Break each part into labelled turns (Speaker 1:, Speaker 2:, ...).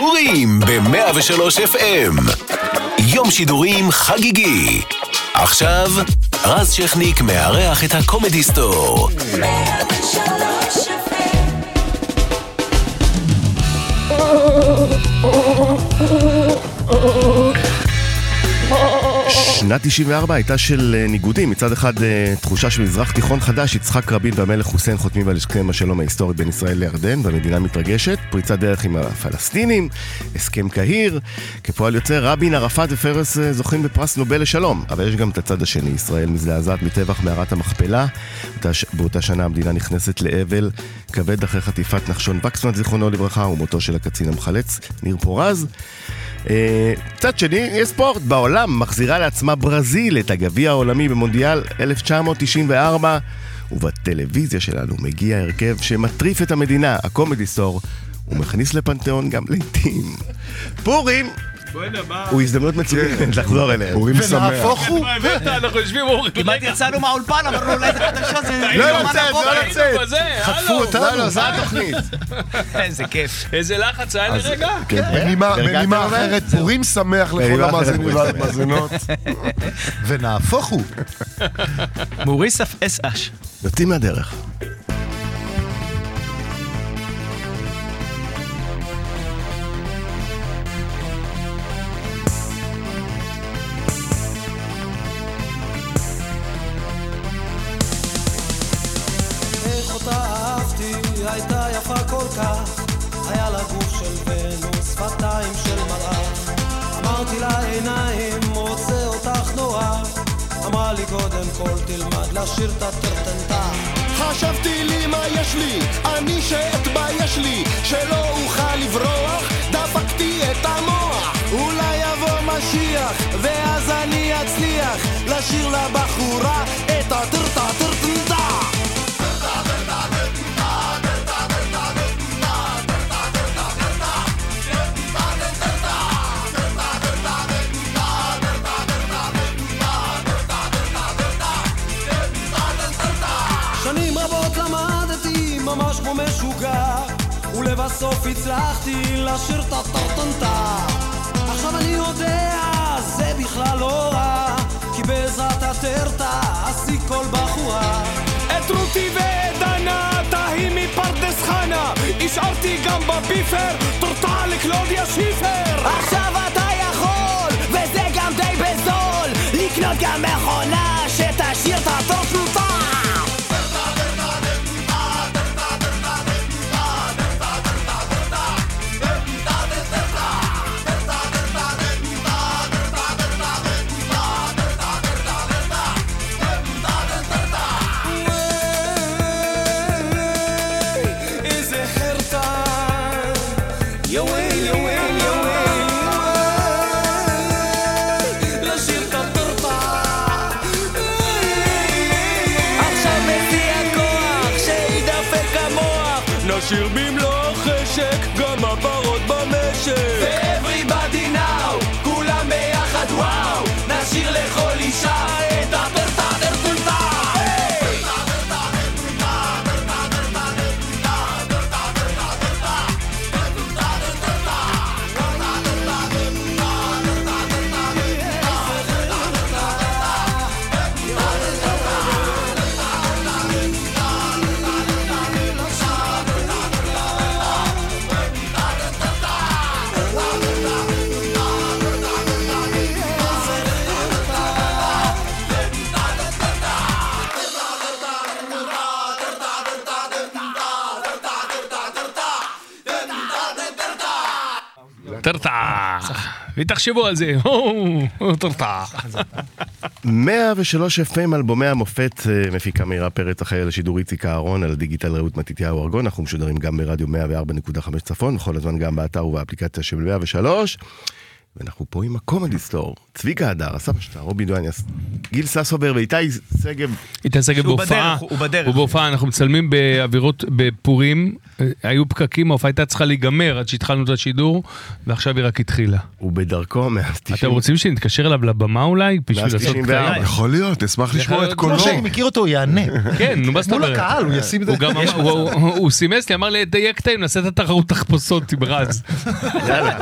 Speaker 1: פורים ב-103 FM. יום שידורים חגיגי. עכשיו, רז שכניק מארח את הקומדי סטור.
Speaker 2: שנת 94 הייתה של אה, ניגודים, מצד אחד אה, תחושה של מזרח תיכון חדש, יצחק רבין והמלך חוסיין חותמים על הסכם השלום ההיסטורי בין ישראל לירדן, והמדינה מתרגשת, פריצת דרך עם הפלסטינים, הסכם קהיר, כפועל יוצא רבין, ערפאת ופרס אה, זוכים בפרס נובל לשלום, אבל יש גם את הצד השני, ישראל מזדעזעת מטבח מערת המכפלה, באותה ש- באותה שנה המדינה נכנסת לאבל כבד אחרי חטיפת נחשון וקסמן, זיכרונו לברכה, ומותו של הקצין המחלץ, ניר פורז. אה, מצד שני, יש ספורט בעולם, מחזירה לעצמה ברזיל את הגביע העולמי במונדיאל 1994, ובטלוויזיה שלנו מגיע הרכב שמטריף את המדינה, הקומדי סטור, ומכניס לפנתיאון גם לעיתים. פורים הוא הזדמנות מצוינת לחזור אליהם.
Speaker 3: כן. פורים שמח.
Speaker 4: ונהפוך הוא,
Speaker 5: אנחנו יושבים ואומרים,
Speaker 6: כמעט יצאנו מהאולפן, אמרנו אולי זה חדשה, זה...
Speaker 2: לא
Speaker 6: יומן
Speaker 2: לצאת,
Speaker 6: הבוקר."
Speaker 2: לא לצאת.
Speaker 5: חטפו
Speaker 2: אותנו. לא, לא, זו התוכנית.
Speaker 6: איזה כן, כיף.
Speaker 5: איזה לחץ היה לרגע?
Speaker 3: כן, בנימה
Speaker 2: הרגעתם
Speaker 3: בנימה
Speaker 2: אבל?
Speaker 3: אחרת, פורים שמח לכל
Speaker 2: בנימה אחרת,
Speaker 3: המאזינים
Speaker 2: פורים
Speaker 3: והמאזינות.
Speaker 4: ונהפוך הוא.
Speaker 6: מוריסף אס אש.
Speaker 2: יוצאים מהדרך.
Speaker 7: איך אותה אהבתי, הייתה יפה כל כך, היה לה גוף של ונוס, שפתיים של מלאך. אמרתי לה עיניים, רוצה אותך נורא, אמרה לי קודם כל תלמד לשיר את הטרטנטה.
Speaker 8: חשבתי לי מה יש לי, אני שאתבייש לי, שלא אוכל לברוח, דפקתי את המוח. אולי יבוא משיח, ואז אני אצליח לשיר לבחורה את הטרטה טרטנטה.
Speaker 7: שנים רבות למדתי ממש כמו משוגע ולבסוף הצלחתי לשיר את הטרטנטה עכשיו אני יודע, זה בכלל לא רע כי בעזרת הטרטה עשי כל בחורה
Speaker 8: את רותי ואת דנה, תהי מפרדס חנה, השארתי גם בביפר, טורטה לקלודיה שיפר.
Speaker 9: עכשיו אתה יכול, וזה גם די בזול, לקנות גם מכונה שתשאיר את הטוטופה.
Speaker 8: איזה חרטה, יואל, יואל, יואל, לשיר את הטורטה.
Speaker 9: עכשיו בשיא הכוח, שידפק המוח,
Speaker 8: נשיר במלוא חשק, גם הפרות במשק.
Speaker 9: ו-Everybody now, כולם ביחד וואו, נשאיר לכל אישה את הטרטה טרטוטה.
Speaker 5: טרטה. ותחשבו על זה, הו, טרטה.
Speaker 2: 103 FM אלבומי המופת, אה, מפיקה מירה פרץ אחראי לשידור איציק אהרון, על הדיגיטל רעות מתתיהו ארגון, אנחנו משודרים גם ברדיו 104.5 צפון, בכל הזמן גם באתר ובאפליקציה של 103. ואנחנו פה עם הקומדי סטור. צביקה הדר, אסף שטר, רובי דואניאס, גיל ססובר ואיתי שגב.
Speaker 5: איתי שגב
Speaker 6: שהוא
Speaker 5: בהופעה,
Speaker 6: בדרך, הוא בדרך.
Speaker 5: הוא בהופעה, אנחנו מצלמים באווירות, בפורים, אה, היו פקקים, ההופעה הייתה צריכה להיגמר עד שהתחלנו את השידור, ועכשיו היא רק התחילה.
Speaker 2: הוא בדרכו מאז 90.
Speaker 5: אתם רוצים שנתקשר אליו לבמה אולי? בשביל
Speaker 2: מאז
Speaker 5: לעשות
Speaker 2: 94.
Speaker 5: קהל?
Speaker 3: יכול להיות, אשמח לשמוע את קולו.
Speaker 4: כמו שאני מכיר אותו, הוא יענה.
Speaker 5: כן, נו, מה זאת
Speaker 4: מול
Speaker 5: אומרת?
Speaker 4: הקהל,
Speaker 3: כן.
Speaker 4: הוא ישים את זה.
Speaker 5: הוא גם אמר- הוא- הוא- הוא סימס לי, אמר לי, דייק את האם, נעשה את התחרות תחפושות עם רז.
Speaker 2: יאללה.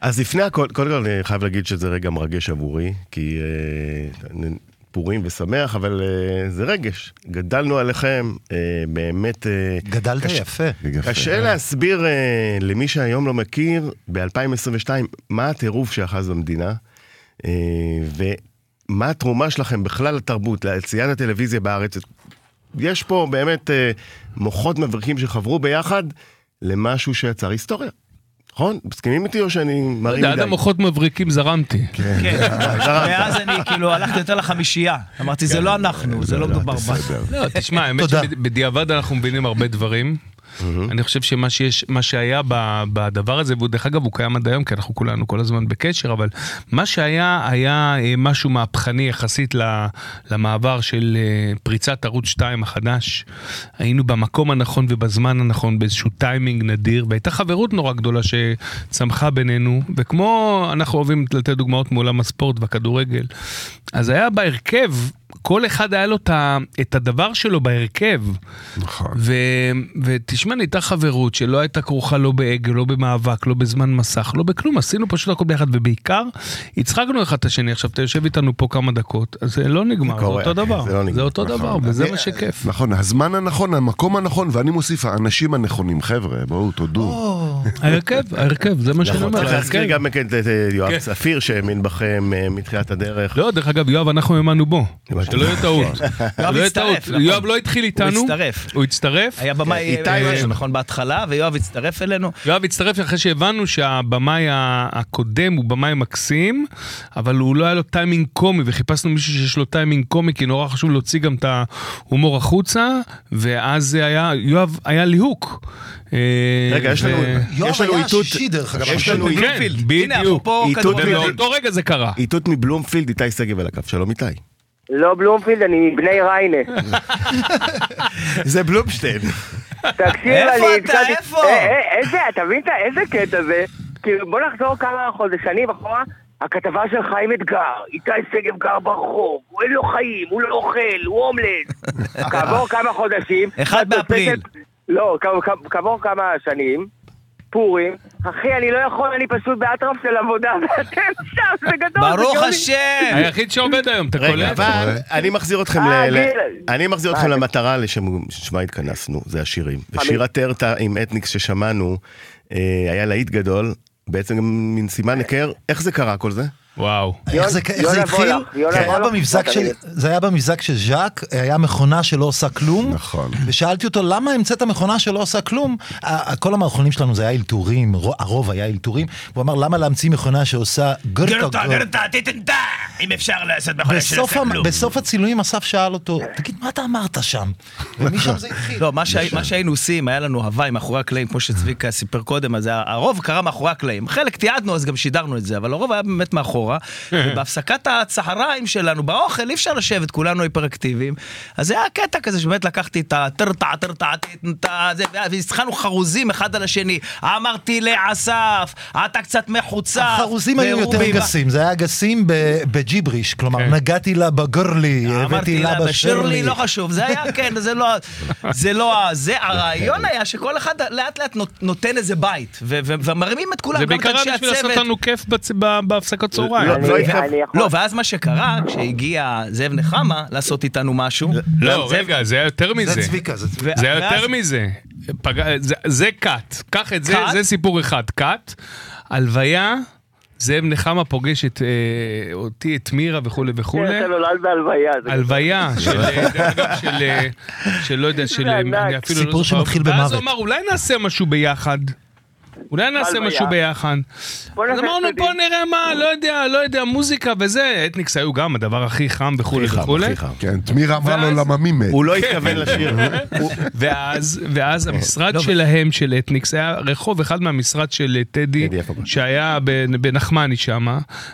Speaker 2: אז לפני הכל, קודם כל אני חייב להגיד שזה רגע מרגש עבורי, כי אה, אני- פורים ושמח, אבל אה, זה רגש. גדלנו עליכם, אה, באמת... אה,
Speaker 4: גדלת יפה.
Speaker 2: קשה להסביר אה, למי שהיום לא מכיר, ב-2022, מה הטירוף שאחז במדינה, אה, ומה התרומה שלכם בכלל לתרבות, ליציאת הטלוויזיה בארץ. יש פה באמת אה, מוחות מבריקים שחברו ביחד למשהו שיצר היסטוריה. נכון? מסכימים איתי או שאני מרים
Speaker 5: עד
Speaker 2: מדי?
Speaker 5: המוחות מבריקים זרמתי.
Speaker 6: כן, ואז אני כאילו הלכתי יותר לחמישייה. אמרתי, זה לא אנחנו, זה לא מדובר בנו.
Speaker 5: לא, תשמע, האמת
Speaker 4: תודה.
Speaker 5: שבדיעבד אנחנו מבינים הרבה דברים. אני חושב שמה שיש, מה שהיה ב- בדבר הזה, והוא דרך אגב, הוא קיים עד היום, כי אנחנו כולנו כל הזמן בקשר, אבל מה שהיה, היה אה, משהו מהפכני יחסית ל- למעבר של אה, פריצת ערוץ 2 החדש. היינו במקום הנכון ובזמן הנכון, באיזשהו טיימינג נדיר, והייתה חברות נורא גדולה שצמחה בינינו, וכמו אנחנו אוהבים לתת דוגמאות מעולם הספורט והכדורגל, אז היה בהרכב, כל אחד היה לו את ה- את הדבר שלו בהרכב.
Speaker 3: נכון.
Speaker 5: ו... ותשמע, נהייתה חברות שלא הייתה כרוכה לא באגו, לא במאבק, לא בזמן מסך, לא בכלום, עשינו פשוט הכל ביחד, ובעיקר, הצחקנו אחד את השני. עכשיו, אתה יושב איתנו פה כמה דקות, אז זה לא נגמר, זה,
Speaker 2: קורה,
Speaker 5: אותו דבר.
Speaker 2: זה לא נגמר,
Speaker 5: זה אותו דבר, וזה מה שכיף.
Speaker 3: נכון, הזמן הנכון, המקום הנכון, ואני מוסיף, האנשים הנכונים. חבר'ה, בואו, תודו.
Speaker 5: ההרכב, ההרכב, זה מה שאני
Speaker 2: נכון,
Speaker 5: אומר,
Speaker 2: צריך להזכיר
Speaker 5: ההרכב.
Speaker 2: גם את את, אה, יואב
Speaker 5: כן.
Speaker 2: ספיר שהאמין בכם אה, מתחילת הדרך.
Speaker 5: לא, דרך אגב, יואב, אנחנו האמנו בו. שלא יהיה טעות.
Speaker 2: כן.
Speaker 5: שלא יהיה
Speaker 6: הצטרף,
Speaker 5: טעות.
Speaker 6: נכון.
Speaker 5: יואב לא התחיל איתנו.
Speaker 6: הצטרף.
Speaker 5: הוא הצטרף.
Speaker 6: היה במאי,
Speaker 2: איתי
Speaker 6: אה,
Speaker 2: משהו.
Speaker 6: נכון, בהתחלה, ויואב הצטרף אלינו.
Speaker 5: יואב הצטרף אחרי שהבנו שהבמאי ה- הקודם הוא במאי מקסים, אבל הוא לא היה לו טיימינג קומי, וחיפשנו מישהו שיש לו טיימינג קומי, כי נורא חשוב להוציא גם את ההומור החוצה, ואז זה היה, יואב, היה ליהוק. אה,
Speaker 2: רגע, יש לנו
Speaker 5: ו-
Speaker 2: יש
Speaker 4: יואב
Speaker 2: לנו
Speaker 4: היה
Speaker 2: איתות-
Speaker 4: השישי דרך אגב.
Speaker 2: יש לנו
Speaker 5: כן,
Speaker 2: איתות-
Speaker 6: הנה,
Speaker 5: בדיוק.
Speaker 6: אפרופו
Speaker 2: עיתות
Speaker 6: כדורגל.
Speaker 2: בלעדי.
Speaker 5: באותו רגע זה קרה.
Speaker 2: איתות מבלומפילד, איתי שגב על הקו. שלום איתי.
Speaker 10: לא בלומפילד, אני מבני ריינה.
Speaker 2: זה בלומשטיין.
Speaker 10: תקשיב,
Speaker 6: איפה
Speaker 10: אני...
Speaker 6: אתה?
Speaker 10: התקלתי-
Speaker 6: איפה?
Speaker 10: אה, אה, איזה, אתה מבין את ה- איזה קטע זה? כאילו, בוא נחזור כמה חודש, שנים אחורה. הכתבה של חיים אתגר, איתי שגב גר ברחוב, הוא אין לו חיים, הוא לא אוכל, הוא הומלס. כעבור כמה חודשים...
Speaker 6: אחד באפריל.
Speaker 10: לא, כ- כ- כעבור כמה שנים, פורים, אחי, אני לא יכול, אני פשוט באטרף של עבודה, ואתם שם, זה גדול. זה
Speaker 6: ברוך
Speaker 10: גאוני.
Speaker 6: השם!
Speaker 5: היחיד שעובד היום, אתה
Speaker 2: רגע,
Speaker 5: קולט?
Speaker 2: אבל אני מחזיר אתכם
Speaker 10: אה,
Speaker 2: ל- ל-
Speaker 10: גיל.
Speaker 2: אני מחזיר אתכם
Speaker 10: אה.
Speaker 2: למטרה לשמה התכנסנו, זה השירים. ושיר
Speaker 10: חמי.
Speaker 2: הטרטה עם אתניקס ששמענו, אה, היה להיט גדול, בעצם גם מין סימן היכר, איך זה קרה כל זה?
Speaker 5: וואו.
Speaker 4: איך זה- איך
Speaker 10: יונה
Speaker 4: זה התחיל? כן.
Speaker 10: וולך, יונה
Speaker 4: זה היה
Speaker 10: וולך,
Speaker 4: במבזק
Speaker 10: זאת
Speaker 4: של-
Speaker 10: אני-
Speaker 4: זה היה במבזק של ז'אק, היה מכונה שלא עושה כלום.
Speaker 3: נכון.
Speaker 4: ושאלתי אותו, למה המצאת מכונה שלא עושה כלום? ה- ה- כל המערכונים שלנו זה היה אלתורים, רו- הרוב היה אלתורים. הוא אמר, למה להמציא מכונה שעושה גרטה גרטה?
Speaker 6: תתנתה, אם אפשר לעשות בחודש
Speaker 4: בסוף המ- בסוף הצילומים אסף שאל אותו, תגיד, מה אתה אמרת שם? ומשם זה התחיל.
Speaker 6: לא, מה שהי- מה שהיינו עושים, היה לנו הוואי מאחורי הקלעים, כמו שצביקה סיפר קודם, אז ה- הרוב קרה מאחורי הקלעים. חלק תיעדנו, אז גם שידרנו את זה, אבל הרוב היה באמת מאחורה. ובהפסקת הצהריים שלנו, באוכל, אי אפשר לשבת, כולנו היפראקטיביים. אז זה היה קטע כזה, שבאמת לקחתי את הטרטע, טרטע, טרטע, זה, והצחנו חרוזים אחד על השני. אמרתי לאסף, אתה קצת מחוצה.
Speaker 4: החרוזים היו יותר גסים, זה היה גסים ב- בג'יבריש, כלומר, נגעתי לה בגרלי, הבאתי
Speaker 6: כן. אמרתי
Speaker 4: לה
Speaker 6: לה,
Speaker 4: בשירלי.
Speaker 6: בשירלי לא חשוב, זה היה, כן, זה לא, זה לא, ה- זה, הרעיון היה שכל אחד לאט לאט נות- נותן איזה בית, ו- ו- ומרימים את כולם,
Speaker 5: זה
Speaker 6: גם את
Speaker 5: בעיקר
Speaker 6: אנשי
Speaker 5: היה בשביל לעשות
Speaker 6: הצוות.
Speaker 5: לנו כיף בצ- ב- בהפסקת צהריים.
Speaker 2: לא, לא התכוונ-
Speaker 10: אני יכול...
Speaker 6: לא, ואז מה שקרה, כשהגיע זאב נחמה לעשות איתנו משהו,
Speaker 5: לא,
Speaker 6: זאב-
Speaker 5: רגע, זה היה יותר מזה.
Speaker 4: זה צביקה, זה צביקה.
Speaker 5: זה היה
Speaker 6: ואז-
Speaker 5: יותר מזה. פג... זה, זה קאט. קח את זה,
Speaker 6: קאט?
Speaker 5: זה סיפור אחד. קאט, הלוויה, זאב נחמה פוגש את, אה, אותי, את מירה וכולי וכולי.
Speaker 10: כן, אתה לא- נולד בהלוויה. זה
Speaker 5: הלוויה של, אה, דרך אגב, של, אה, של לא יודע, של, אה,
Speaker 10: ענק.
Speaker 5: אני אפילו לא
Speaker 4: סיפור
Speaker 5: זוכר.
Speaker 4: שמתחיל
Speaker 5: ואז
Speaker 4: במוות.
Speaker 5: הוא אמר, אולי נעשה משהו ביחד. אולי נעשה
Speaker 10: הלוויה.
Speaker 5: משהו ביחד.
Speaker 10: בוא
Speaker 5: אז
Speaker 10: נעשה
Speaker 5: אמרנו,
Speaker 10: צדדים.
Speaker 5: בוא נראה מה, לא יודע, לא יודע, מוזיקה וזה. אתניקס היו גם הדבר הכי חם וכולי
Speaker 2: הכי חם,
Speaker 5: וכולי.
Speaker 2: הכי חם.
Speaker 3: כן, תמיר אמר
Speaker 5: ואז-
Speaker 3: לו למה מי מת.
Speaker 2: הוא לא התכוון לשיר. הוא-
Speaker 5: ואז, ואז המשרד שלהם, של אתניקס, היה רחוב אחד מהמשרד של אה, טדי,
Speaker 2: טדי יעקב.
Speaker 5: שהיה בנ- בנחמני שם,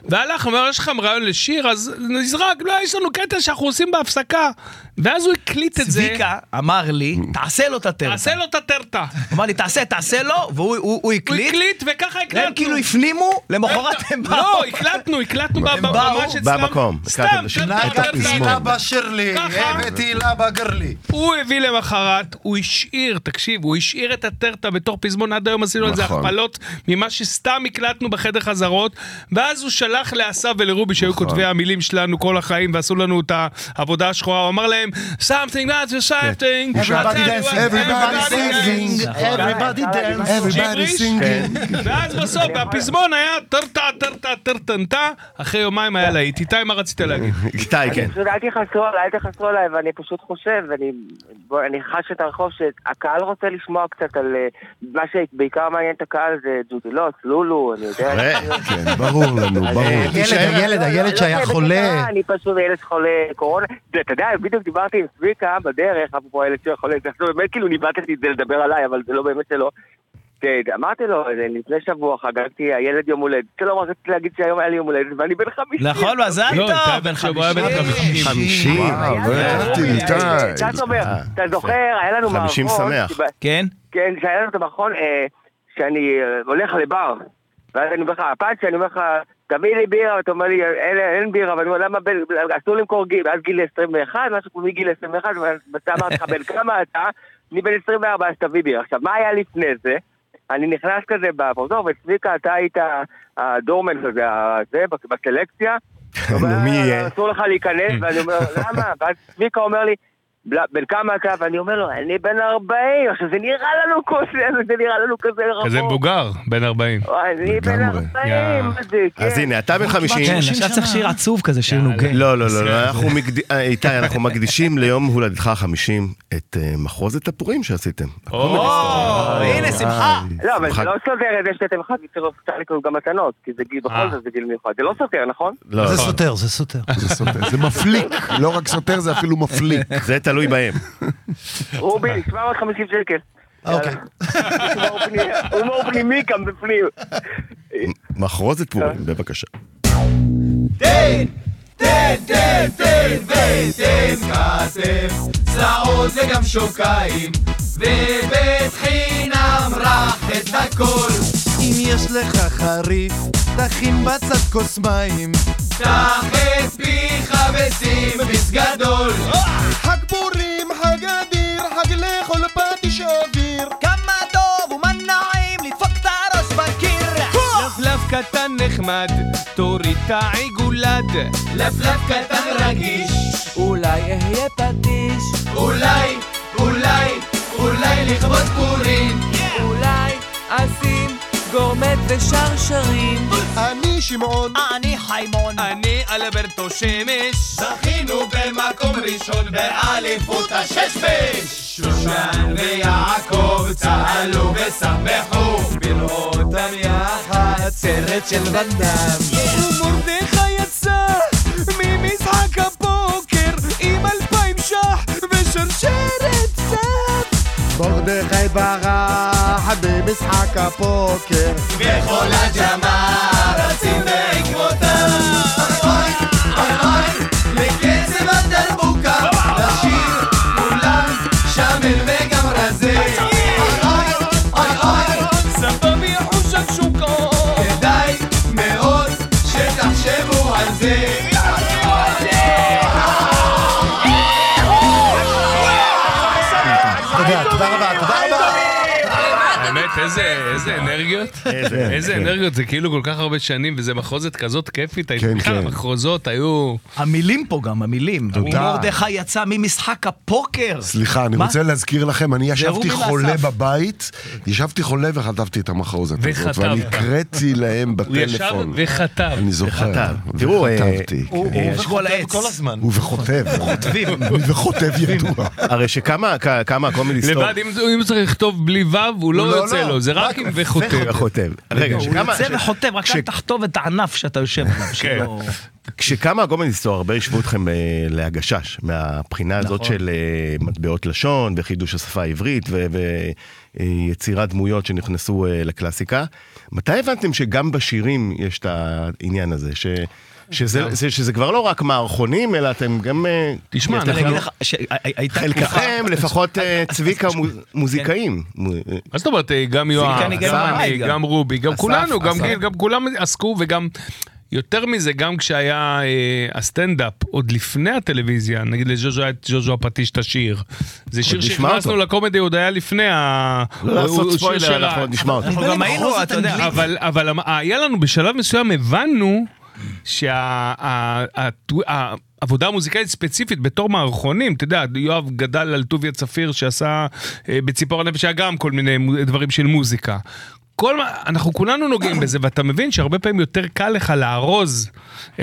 Speaker 5: והלך, אמר, יש לכם רעיון לשיר, אז נזרק, לא, יש לנו קטע שאנחנו עושים בהפסקה. ואז הוא הקליט את זה,
Speaker 6: צביקה אמר לי, תעשה לו את הטרפה.
Speaker 5: תעשה לו את הטרטה.
Speaker 6: הוא אמר לי, תעשה, תעשה לו, והוא הוא- הוא
Speaker 5: הוא
Speaker 6: הקליט,
Speaker 5: הקליט, וככה
Speaker 6: והם
Speaker 5: הקלטנו.
Speaker 6: כאילו הפנימו, למחרת הם באו.
Speaker 5: לא, הקלטנו, הקלטנו ב- ב-
Speaker 6: באו
Speaker 5: ממש אצלם.
Speaker 2: במקום,
Speaker 5: סתם,
Speaker 2: הקלטתם בשביל-
Speaker 5: טרטה, טרטה.
Speaker 4: לאבא שירלי,
Speaker 5: ככה?
Speaker 4: הבאתי לאבא גרלי.
Speaker 5: הוא הביא למחרת, הוא השאיר, תקשיב, הוא השאיר את הטרטה בתור פזמון, עד היום עשינו על זה
Speaker 2: נכון.
Speaker 5: הכפלות ממה שסתם הקלטנו בחדר חזרות, ואז הוא שלח לאסף ולרובי, שהיו כותבי המילים שלנו כל החיים, ועשו לנו את העבודה השחורה, הוא אמר להם, something that's a something,
Speaker 4: Everybody
Speaker 5: I'll tell
Speaker 4: dancing,
Speaker 5: you what,
Speaker 4: everybody
Speaker 5: everybody
Speaker 4: singing,
Speaker 5: dancing."
Speaker 4: everybody dancing.
Speaker 3: Everybody singing.
Speaker 5: ג'יבריש. ואז בסוף, והפזמון היה טרטה, טרטה, טרטנטה, אחרי יומיים היה להיט. איתי, מה רצית להגיד?
Speaker 2: איתי, כן.
Speaker 10: אני פשוט אל תכעסו עליי, אל תכעסו עליי, ואני פשוט חושב, אני, בוא, אני חש את הרחוב שהקהל רוצה לשמוע קצת על אה, מה שבעיקר מעניין את הקהל זה ג'ודילוס, לולו, אני יודע.
Speaker 3: כן, ברור לנו, ברור.
Speaker 4: הילד, אה, הילד, הילד שהיה
Speaker 10: אני לא
Speaker 4: חולה.
Speaker 10: אני פשוט ילד חולה קורונה. זה, אתה יודע, בדיוק דיברתי עם צביקה בדרך, אפרופו הילד שהיה חולה, זה באמת כאילו ניבטתי את זה לדבר עליי, אבל זה לא באמת שלא. כן, אמרתי לו, זה לפני שבוע חגגתי, הילד יום הולדת. שלא רציתי להגיד שהיום היה לי יום הולדת, ואני בן חמישים.
Speaker 6: נכון, מזל
Speaker 5: לא,
Speaker 6: טוב,
Speaker 5: איתי
Speaker 6: בן
Speaker 5: עכשיו הוא היה בן חמישים.
Speaker 6: חמישים.
Speaker 2: חמישים.
Speaker 3: וואו, לא ידעתי,
Speaker 10: אה,
Speaker 3: איתי.
Speaker 10: אתה זוכר, אתה זוכר, היה לנו מערכון...
Speaker 2: חמישים שמח.
Speaker 10: שבה-
Speaker 6: כן?
Speaker 10: כן, שהיה לנו את המערכון אה, שאני אה, הולך לבר. ואז אני אומר לך, הפעם שאני אומר לך, תביא לי בירה, אתה אומר לי, אין, אין בירה, ואני אומר, למה בין, אסור למכור גיל, ואז גיל 21, משהו כמו מגיל 21, ואתה אמרתי לך, בן כמה אתה? אני בן 24, אז תביא בירה. עכשיו, מה היה לפני זה? אני נכנס כזה בפרוזור, וצביקה, אתה היית הדורמן כזה, ה- זה, בסלקציה.
Speaker 2: נו, מי יהיה?
Speaker 10: אסור לך להיכנס, ואני אומר, למה? ואז צביקה אומר לי, "בל- בן כמה אתה? ואני אומר לו, אני בן 40. עכשיו, זה נראה לנו כוס, זה נראה לנו כזה רחוק.
Speaker 5: כזה מבוגר, בן 40.
Speaker 10: וואי, אני בן
Speaker 3: לגמרי.
Speaker 10: 40, מה זה, כן.
Speaker 2: אז הנה, אתה בן
Speaker 6: כן,
Speaker 2: 50.
Speaker 6: עכשיו צריך שיר עצוב כזה, שיר נוגן.
Speaker 2: לא, לא, לא, לא, אנחנו מגד- אה, איתי, אנחנו מקדישים ליום הולדתך החמישים את אה, מחרוזת הפורים שעשיתם.
Speaker 6: או, הנה, אה, שמחה.
Speaker 10: לא, אבל זה
Speaker 2: אה, שמחה.
Speaker 10: לא סותר את זה שאתם אחד, כי צריך לתת גם מתנות, כי זה גיל, בכל זאת זה גיל מיוחד. זה לא סותר, נכון?
Speaker 2: לא,
Speaker 4: זה
Speaker 2: לא,
Speaker 4: סותר, זה סותר.
Speaker 3: זה סותר, זה מפליק, לא רק סותר, זה אפילו מפליק.
Speaker 2: זה תלוי בהם.
Speaker 10: רובי, 750 שקל.
Speaker 4: אוקיי.
Speaker 10: יאללה. הומור פנימי- הומור פנימי גם בפנים.
Speaker 2: מחרוזת
Speaker 6: כן.
Speaker 2: פורים, בבקשה.
Speaker 8: אם יש לך חריף, תכין בצד כוס מים. תחת פיך ושים ביס גדול. חג פורים, חג אדיר, חג לכל פטיש אוויר.
Speaker 9: כמה טוב ומה נעים לדפוק את הראש בקיר
Speaker 8: לבלב קטן נחמד, תוריד את העיגולד. לבלב קטן רגיש,
Speaker 9: אולי אהיה פטיש
Speaker 8: אולי, אולי, אולי לכבוד פורים.
Speaker 9: אולי אשים גורמט ושרשרים
Speaker 8: אני שמעון,
Speaker 9: אני חיימון
Speaker 8: אני אלברטו שמש. זכינו במקום ראשון באליפות השש-בש. שושן ויעקב צהלו ושמחו, בראותם יחד סרט של ונדם. ומרדכי יצא ממשחק הפוקר עם אלפיים שח ושרשרת זהב. מרדכי ברח במשחק הפוקר וכל הג'מעה רצים בעקבותיו אוי, אוי, לקצב הדרבוקה לשיר כולם שמל וגם רזה אוי, אוי, אוי, סבב יחוש השוקו כדאי מאוד שתחשבו על זה
Speaker 4: תודה, תודה רבה, תודה רבה.
Speaker 5: כן, באמת, איזה איזה אנרגיות.
Speaker 3: כן,
Speaker 5: איזה אנרגיות, זה כאילו כל כך הרבה שנים, וזה מחרוזת כזאת כיפית.
Speaker 3: כן,
Speaker 5: בכלל,
Speaker 3: כן.
Speaker 5: המחרוזות היו...
Speaker 6: כן. המילים פה גם, המילים. ומרדכי יצא ממשחק הפוקר.
Speaker 3: סליחה, אני
Speaker 6: מה?
Speaker 3: רוצה להזכיר לכם, אני ישבתי
Speaker 6: רובי
Speaker 3: חולה
Speaker 6: לאסף.
Speaker 3: בבית, ישבתי חולה וחטפתי את המחרוזת הזאת,
Speaker 5: וחטבת.
Speaker 3: ואני הקראתי להם
Speaker 5: הוא ישב
Speaker 3: בטלפון.
Speaker 5: וחטב.
Speaker 3: אני זוכר,
Speaker 2: וחטב. תראו, אה,
Speaker 3: וחטבתי.
Speaker 4: הוא
Speaker 3: כן.
Speaker 6: יש כל
Speaker 4: חוטב
Speaker 6: העץ.
Speaker 4: כל הזמן.
Speaker 3: ובחוטב, ובחוטב ידוע.
Speaker 2: הרי שכמה כמה הקומדי סטור...
Speaker 5: לבד, אם אם הוא צריך לכתוב בלי וו, הוא לא
Speaker 3: לא,
Speaker 5: יוצא
Speaker 3: לא.
Speaker 5: לו, זה רק אם וחוטב.
Speaker 2: רגע, חותם. רגע,
Speaker 6: הוא
Speaker 2: שכמה-
Speaker 6: יוצא
Speaker 2: ש-
Speaker 6: וחוטב, רק
Speaker 2: כש-
Speaker 6: אל תחטוב את הענף שאתה יושב עליו. שלא-
Speaker 2: כשקמה הגומניסטו, הרבה השוו אתכם אה, להגשש, מהבחינה הזאת
Speaker 5: נכון.
Speaker 2: של אה, מטבעות לשון וחידוש השפה העברית ויצירת דמויות שנכנסו אה, לקלאסיקה. מתי הבנתם שגם בשירים יש את העניין הזה? ש...
Speaker 5: כן.
Speaker 2: שזה, זה, שזה כבר לא רק מערכונים, אלא אתם גם... אה,
Speaker 5: תשמע,
Speaker 2: יש
Speaker 5: אנחנו-
Speaker 2: לכם-
Speaker 6: אני אגיד לך שהייתה תקופה...
Speaker 2: חלקכם, לפחות אה, צביקה מו- מוזיקאים.
Speaker 5: כן.
Speaker 2: מו- אה,
Speaker 5: מה זאת אומרת, אה, גם
Speaker 2: כן
Speaker 5: יואב,
Speaker 6: ניגן
Speaker 5: גם
Speaker 6: במים,
Speaker 5: אני,
Speaker 6: גם.
Speaker 5: גם רובי, גם
Speaker 6: אסף,
Speaker 5: כולנו, גם
Speaker 6: אסף.
Speaker 5: גיל, גם כולם עסקו וגם... יותר מזה, גם כשהיה אה, הסטנדאפ, עוד לפני הטלוויזיה, נגיד לז'וז'ו היה את ז'וז'ו הפטיש את השיר. זה שיר
Speaker 2: נשמע
Speaker 5: שהכנסנו
Speaker 2: אותו.
Speaker 5: לקומדי, עוד היה לפני ה...
Speaker 2: לא
Speaker 5: הוא- הוא
Speaker 2: לעשות
Speaker 5: שיר של
Speaker 2: ספוילר,
Speaker 5: ה-
Speaker 2: אנחנו עוד נשמע אותו.
Speaker 6: אנחנו גם היינו, אתה יודע,
Speaker 5: אבל, אבל המ- היה לנו בשלב מסוים הבנו שהעבודה המוזיקלית ספציפית בתור מערכונים, אתה יודע, יואב גדל על טוביה צפיר שעשה אה, בציפור הנפש, היה גם כל מיני מו- דברים של מוזיקה. כל מה, אנחנו כולנו נוגעים בזה, ואתה מבין שהרבה פעמים יותר קל לך לארוז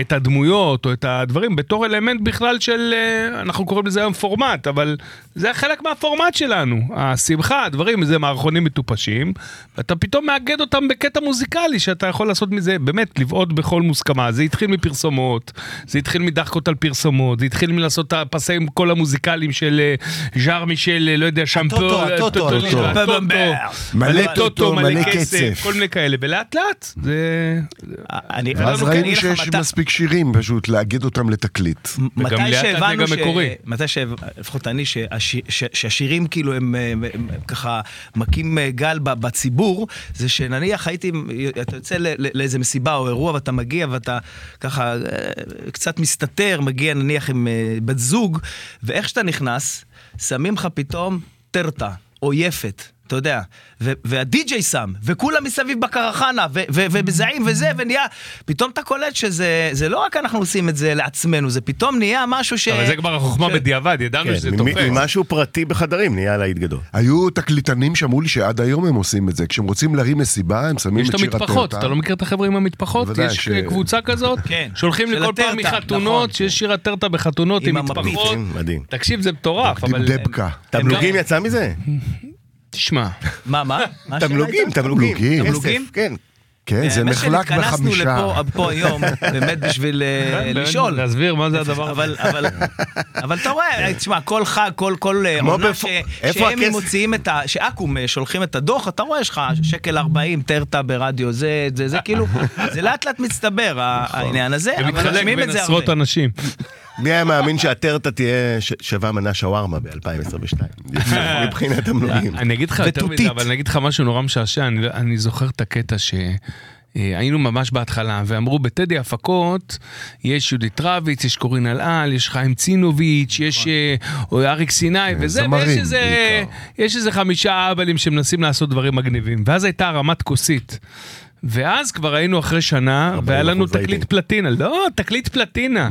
Speaker 5: את הדמויות או את הדברים בתור אלמנט בכלל של, אה, אנחנו קוראים לזה היום פורמט, אבל זה היה חלק מהפורמט שלנו. השמחה, הדברים, זה מערכונים מטופשים, ואתה פתאום מאגד אותם בקטע מוזיקלי, שאתה יכול לעשות מזה, באמת, לבעוט בכל מוסכמה. זה התחיל מפרסומות, זה התחיל מדחקות על פרסומות, זה התחיל מלעשות את הפסים כל המוזיקליים של אה, ז'אר מישל, אה, לא יודע, שמפו,
Speaker 4: הטוטו,
Speaker 5: אה,
Speaker 4: הטוטו,
Speaker 5: טוטו,
Speaker 4: הטוטו.
Speaker 5: הטוטו,
Speaker 8: מלא
Speaker 5: טוטו, מלא
Speaker 8: כסף.
Speaker 5: כסף, כל מיני כאלה, ולאט לאט, זה...
Speaker 6: אני... לא
Speaker 5: ואז
Speaker 6: אני
Speaker 3: אז
Speaker 5: לנו
Speaker 3: ראינו
Speaker 6: אגיד לך
Speaker 3: שיש
Speaker 6: מתי-
Speaker 3: מספיק שירים, פשוט לאגד אותם לתקליט.
Speaker 5: וגם
Speaker 6: מתי
Speaker 5: לאט לאט
Speaker 6: שהבנו
Speaker 5: נגע
Speaker 6: ש...
Speaker 5: מקורי.
Speaker 6: מתי ש... לפחות אני, שהשי- ש- שהשירים כאילו הם, אה, הם, הם ככה מכים אה, גל ב- בציבור, זה שנניח הייתי, אתה יוצא ל- ל- לאיזה מסיבה או אירוע ואתה מגיע ואתה ככה אה, קצת מסתתר, מגיע נניח עם אה, בת זוג, ואיך שאתה נכנס, שמים לך פתאום טרטה, או יפת. אתה יודע, ו- והדי-ג'יי שם, וכולם מסביב בקרחנה, ו- ו- ומזהים וזה, ונהיה, פתאום אתה קולט שזה זה לא רק אנחנו עושים את זה לעצמנו, זה פתאום נהיה משהו ש...
Speaker 5: אבל זה כבר החוכמה
Speaker 6: אה, ש-
Speaker 5: בדיעבד, ידענו שזה
Speaker 2: כן, מ-
Speaker 5: תופס.
Speaker 2: ממשהו פרטי בחדרים נהיה להיט גדול.
Speaker 3: היו תקליטנים שאמרו לי שעד היום הם עושים את זה. כשהם רוצים להרים מסיבה, הם שמים
Speaker 5: יש
Speaker 3: את
Speaker 5: את
Speaker 3: שיר הטרטה.
Speaker 5: המטפחות, אתה לא מכיר את החבר'ה עם המטפחות?
Speaker 3: בוודאי,
Speaker 5: יש
Speaker 3: ש-
Speaker 5: קבוצה כזאת,
Speaker 6: כן.
Speaker 5: שהולכים
Speaker 6: של
Speaker 5: לכל פעם
Speaker 6: הטרטה, נכון.
Speaker 5: מחתונות, שיש שיר הטרטה בחתונות עם
Speaker 6: עם המפית.
Speaker 5: מטפחות.
Speaker 2: מדהים.
Speaker 5: תקשיב, זה מטורף, אבל...
Speaker 3: נכון. דבקה.
Speaker 2: תמלוגים יצא מזה?
Speaker 5: תשמע,
Speaker 6: מה, מה? מה השאלה
Speaker 2: תמלוגים,
Speaker 6: הייתה?
Speaker 2: תמלוגים.
Speaker 3: תמלוגים.
Speaker 2: כסף,
Speaker 6: תמלוגים?
Speaker 2: כן.
Speaker 5: אה,
Speaker 3: כן, זה
Speaker 6: האמת
Speaker 3: נחלק בחמישה.
Speaker 6: שהתכנסנו לפה אה, פה היום, באמת בשביל אה,
Speaker 5: כן, באמת,
Speaker 6: לשאול.
Speaker 5: להסביר מה זה הדבר הזה.
Speaker 6: אבל, אבל, אבל אתה רואה, תשמע, כל חג, כל, כל אה,
Speaker 2: כמו
Speaker 6: עונה
Speaker 2: בפ-
Speaker 6: ש,
Speaker 2: איפה
Speaker 6: שהם
Speaker 2: הכסף?
Speaker 6: מוציאים את ה... שאקו"ם אה, שולחים את הדוח, אתה רואה, יש לך שקל 40 טרטה ברדיו, זה, זה, זה כאילו, זה לאט לאט מצטבר, ה- העניין הזה, אבל
Speaker 5: ומתחלק
Speaker 6: משמיעים
Speaker 5: בין
Speaker 6: את זה הרבה.
Speaker 5: עשרות אנשים.
Speaker 2: מי היה מאמין שהטרטה תהיה ש- שווה מנה שווארמה ב-2022? מבחינת תמלוגים.
Speaker 5: אני אגיד לך יותר מזה, אבל אני אגיד לך משהו נורא משעשע, אני, לא- אני זוכר את הקטע ש... אה, היינו ממש בהתחלה, ואמרו בטדי הפקות, יש יהודית רביץ, יש קורין אלעל, יש חיים צינוביץ', יש אה, או אריק סיני וזה,
Speaker 3: זמרים
Speaker 5: ויש איזה, יש איזה חמישה אבלים שמנסים לעשות דברים מגניבים. ואז הייתה הרמת כוסית. ואז כבר היינו אחרי שנה, והיה לנו
Speaker 2: אחוז
Speaker 5: תקליט
Speaker 2: רייטינג.
Speaker 5: פלטינה. לא, תקליט פלטינה.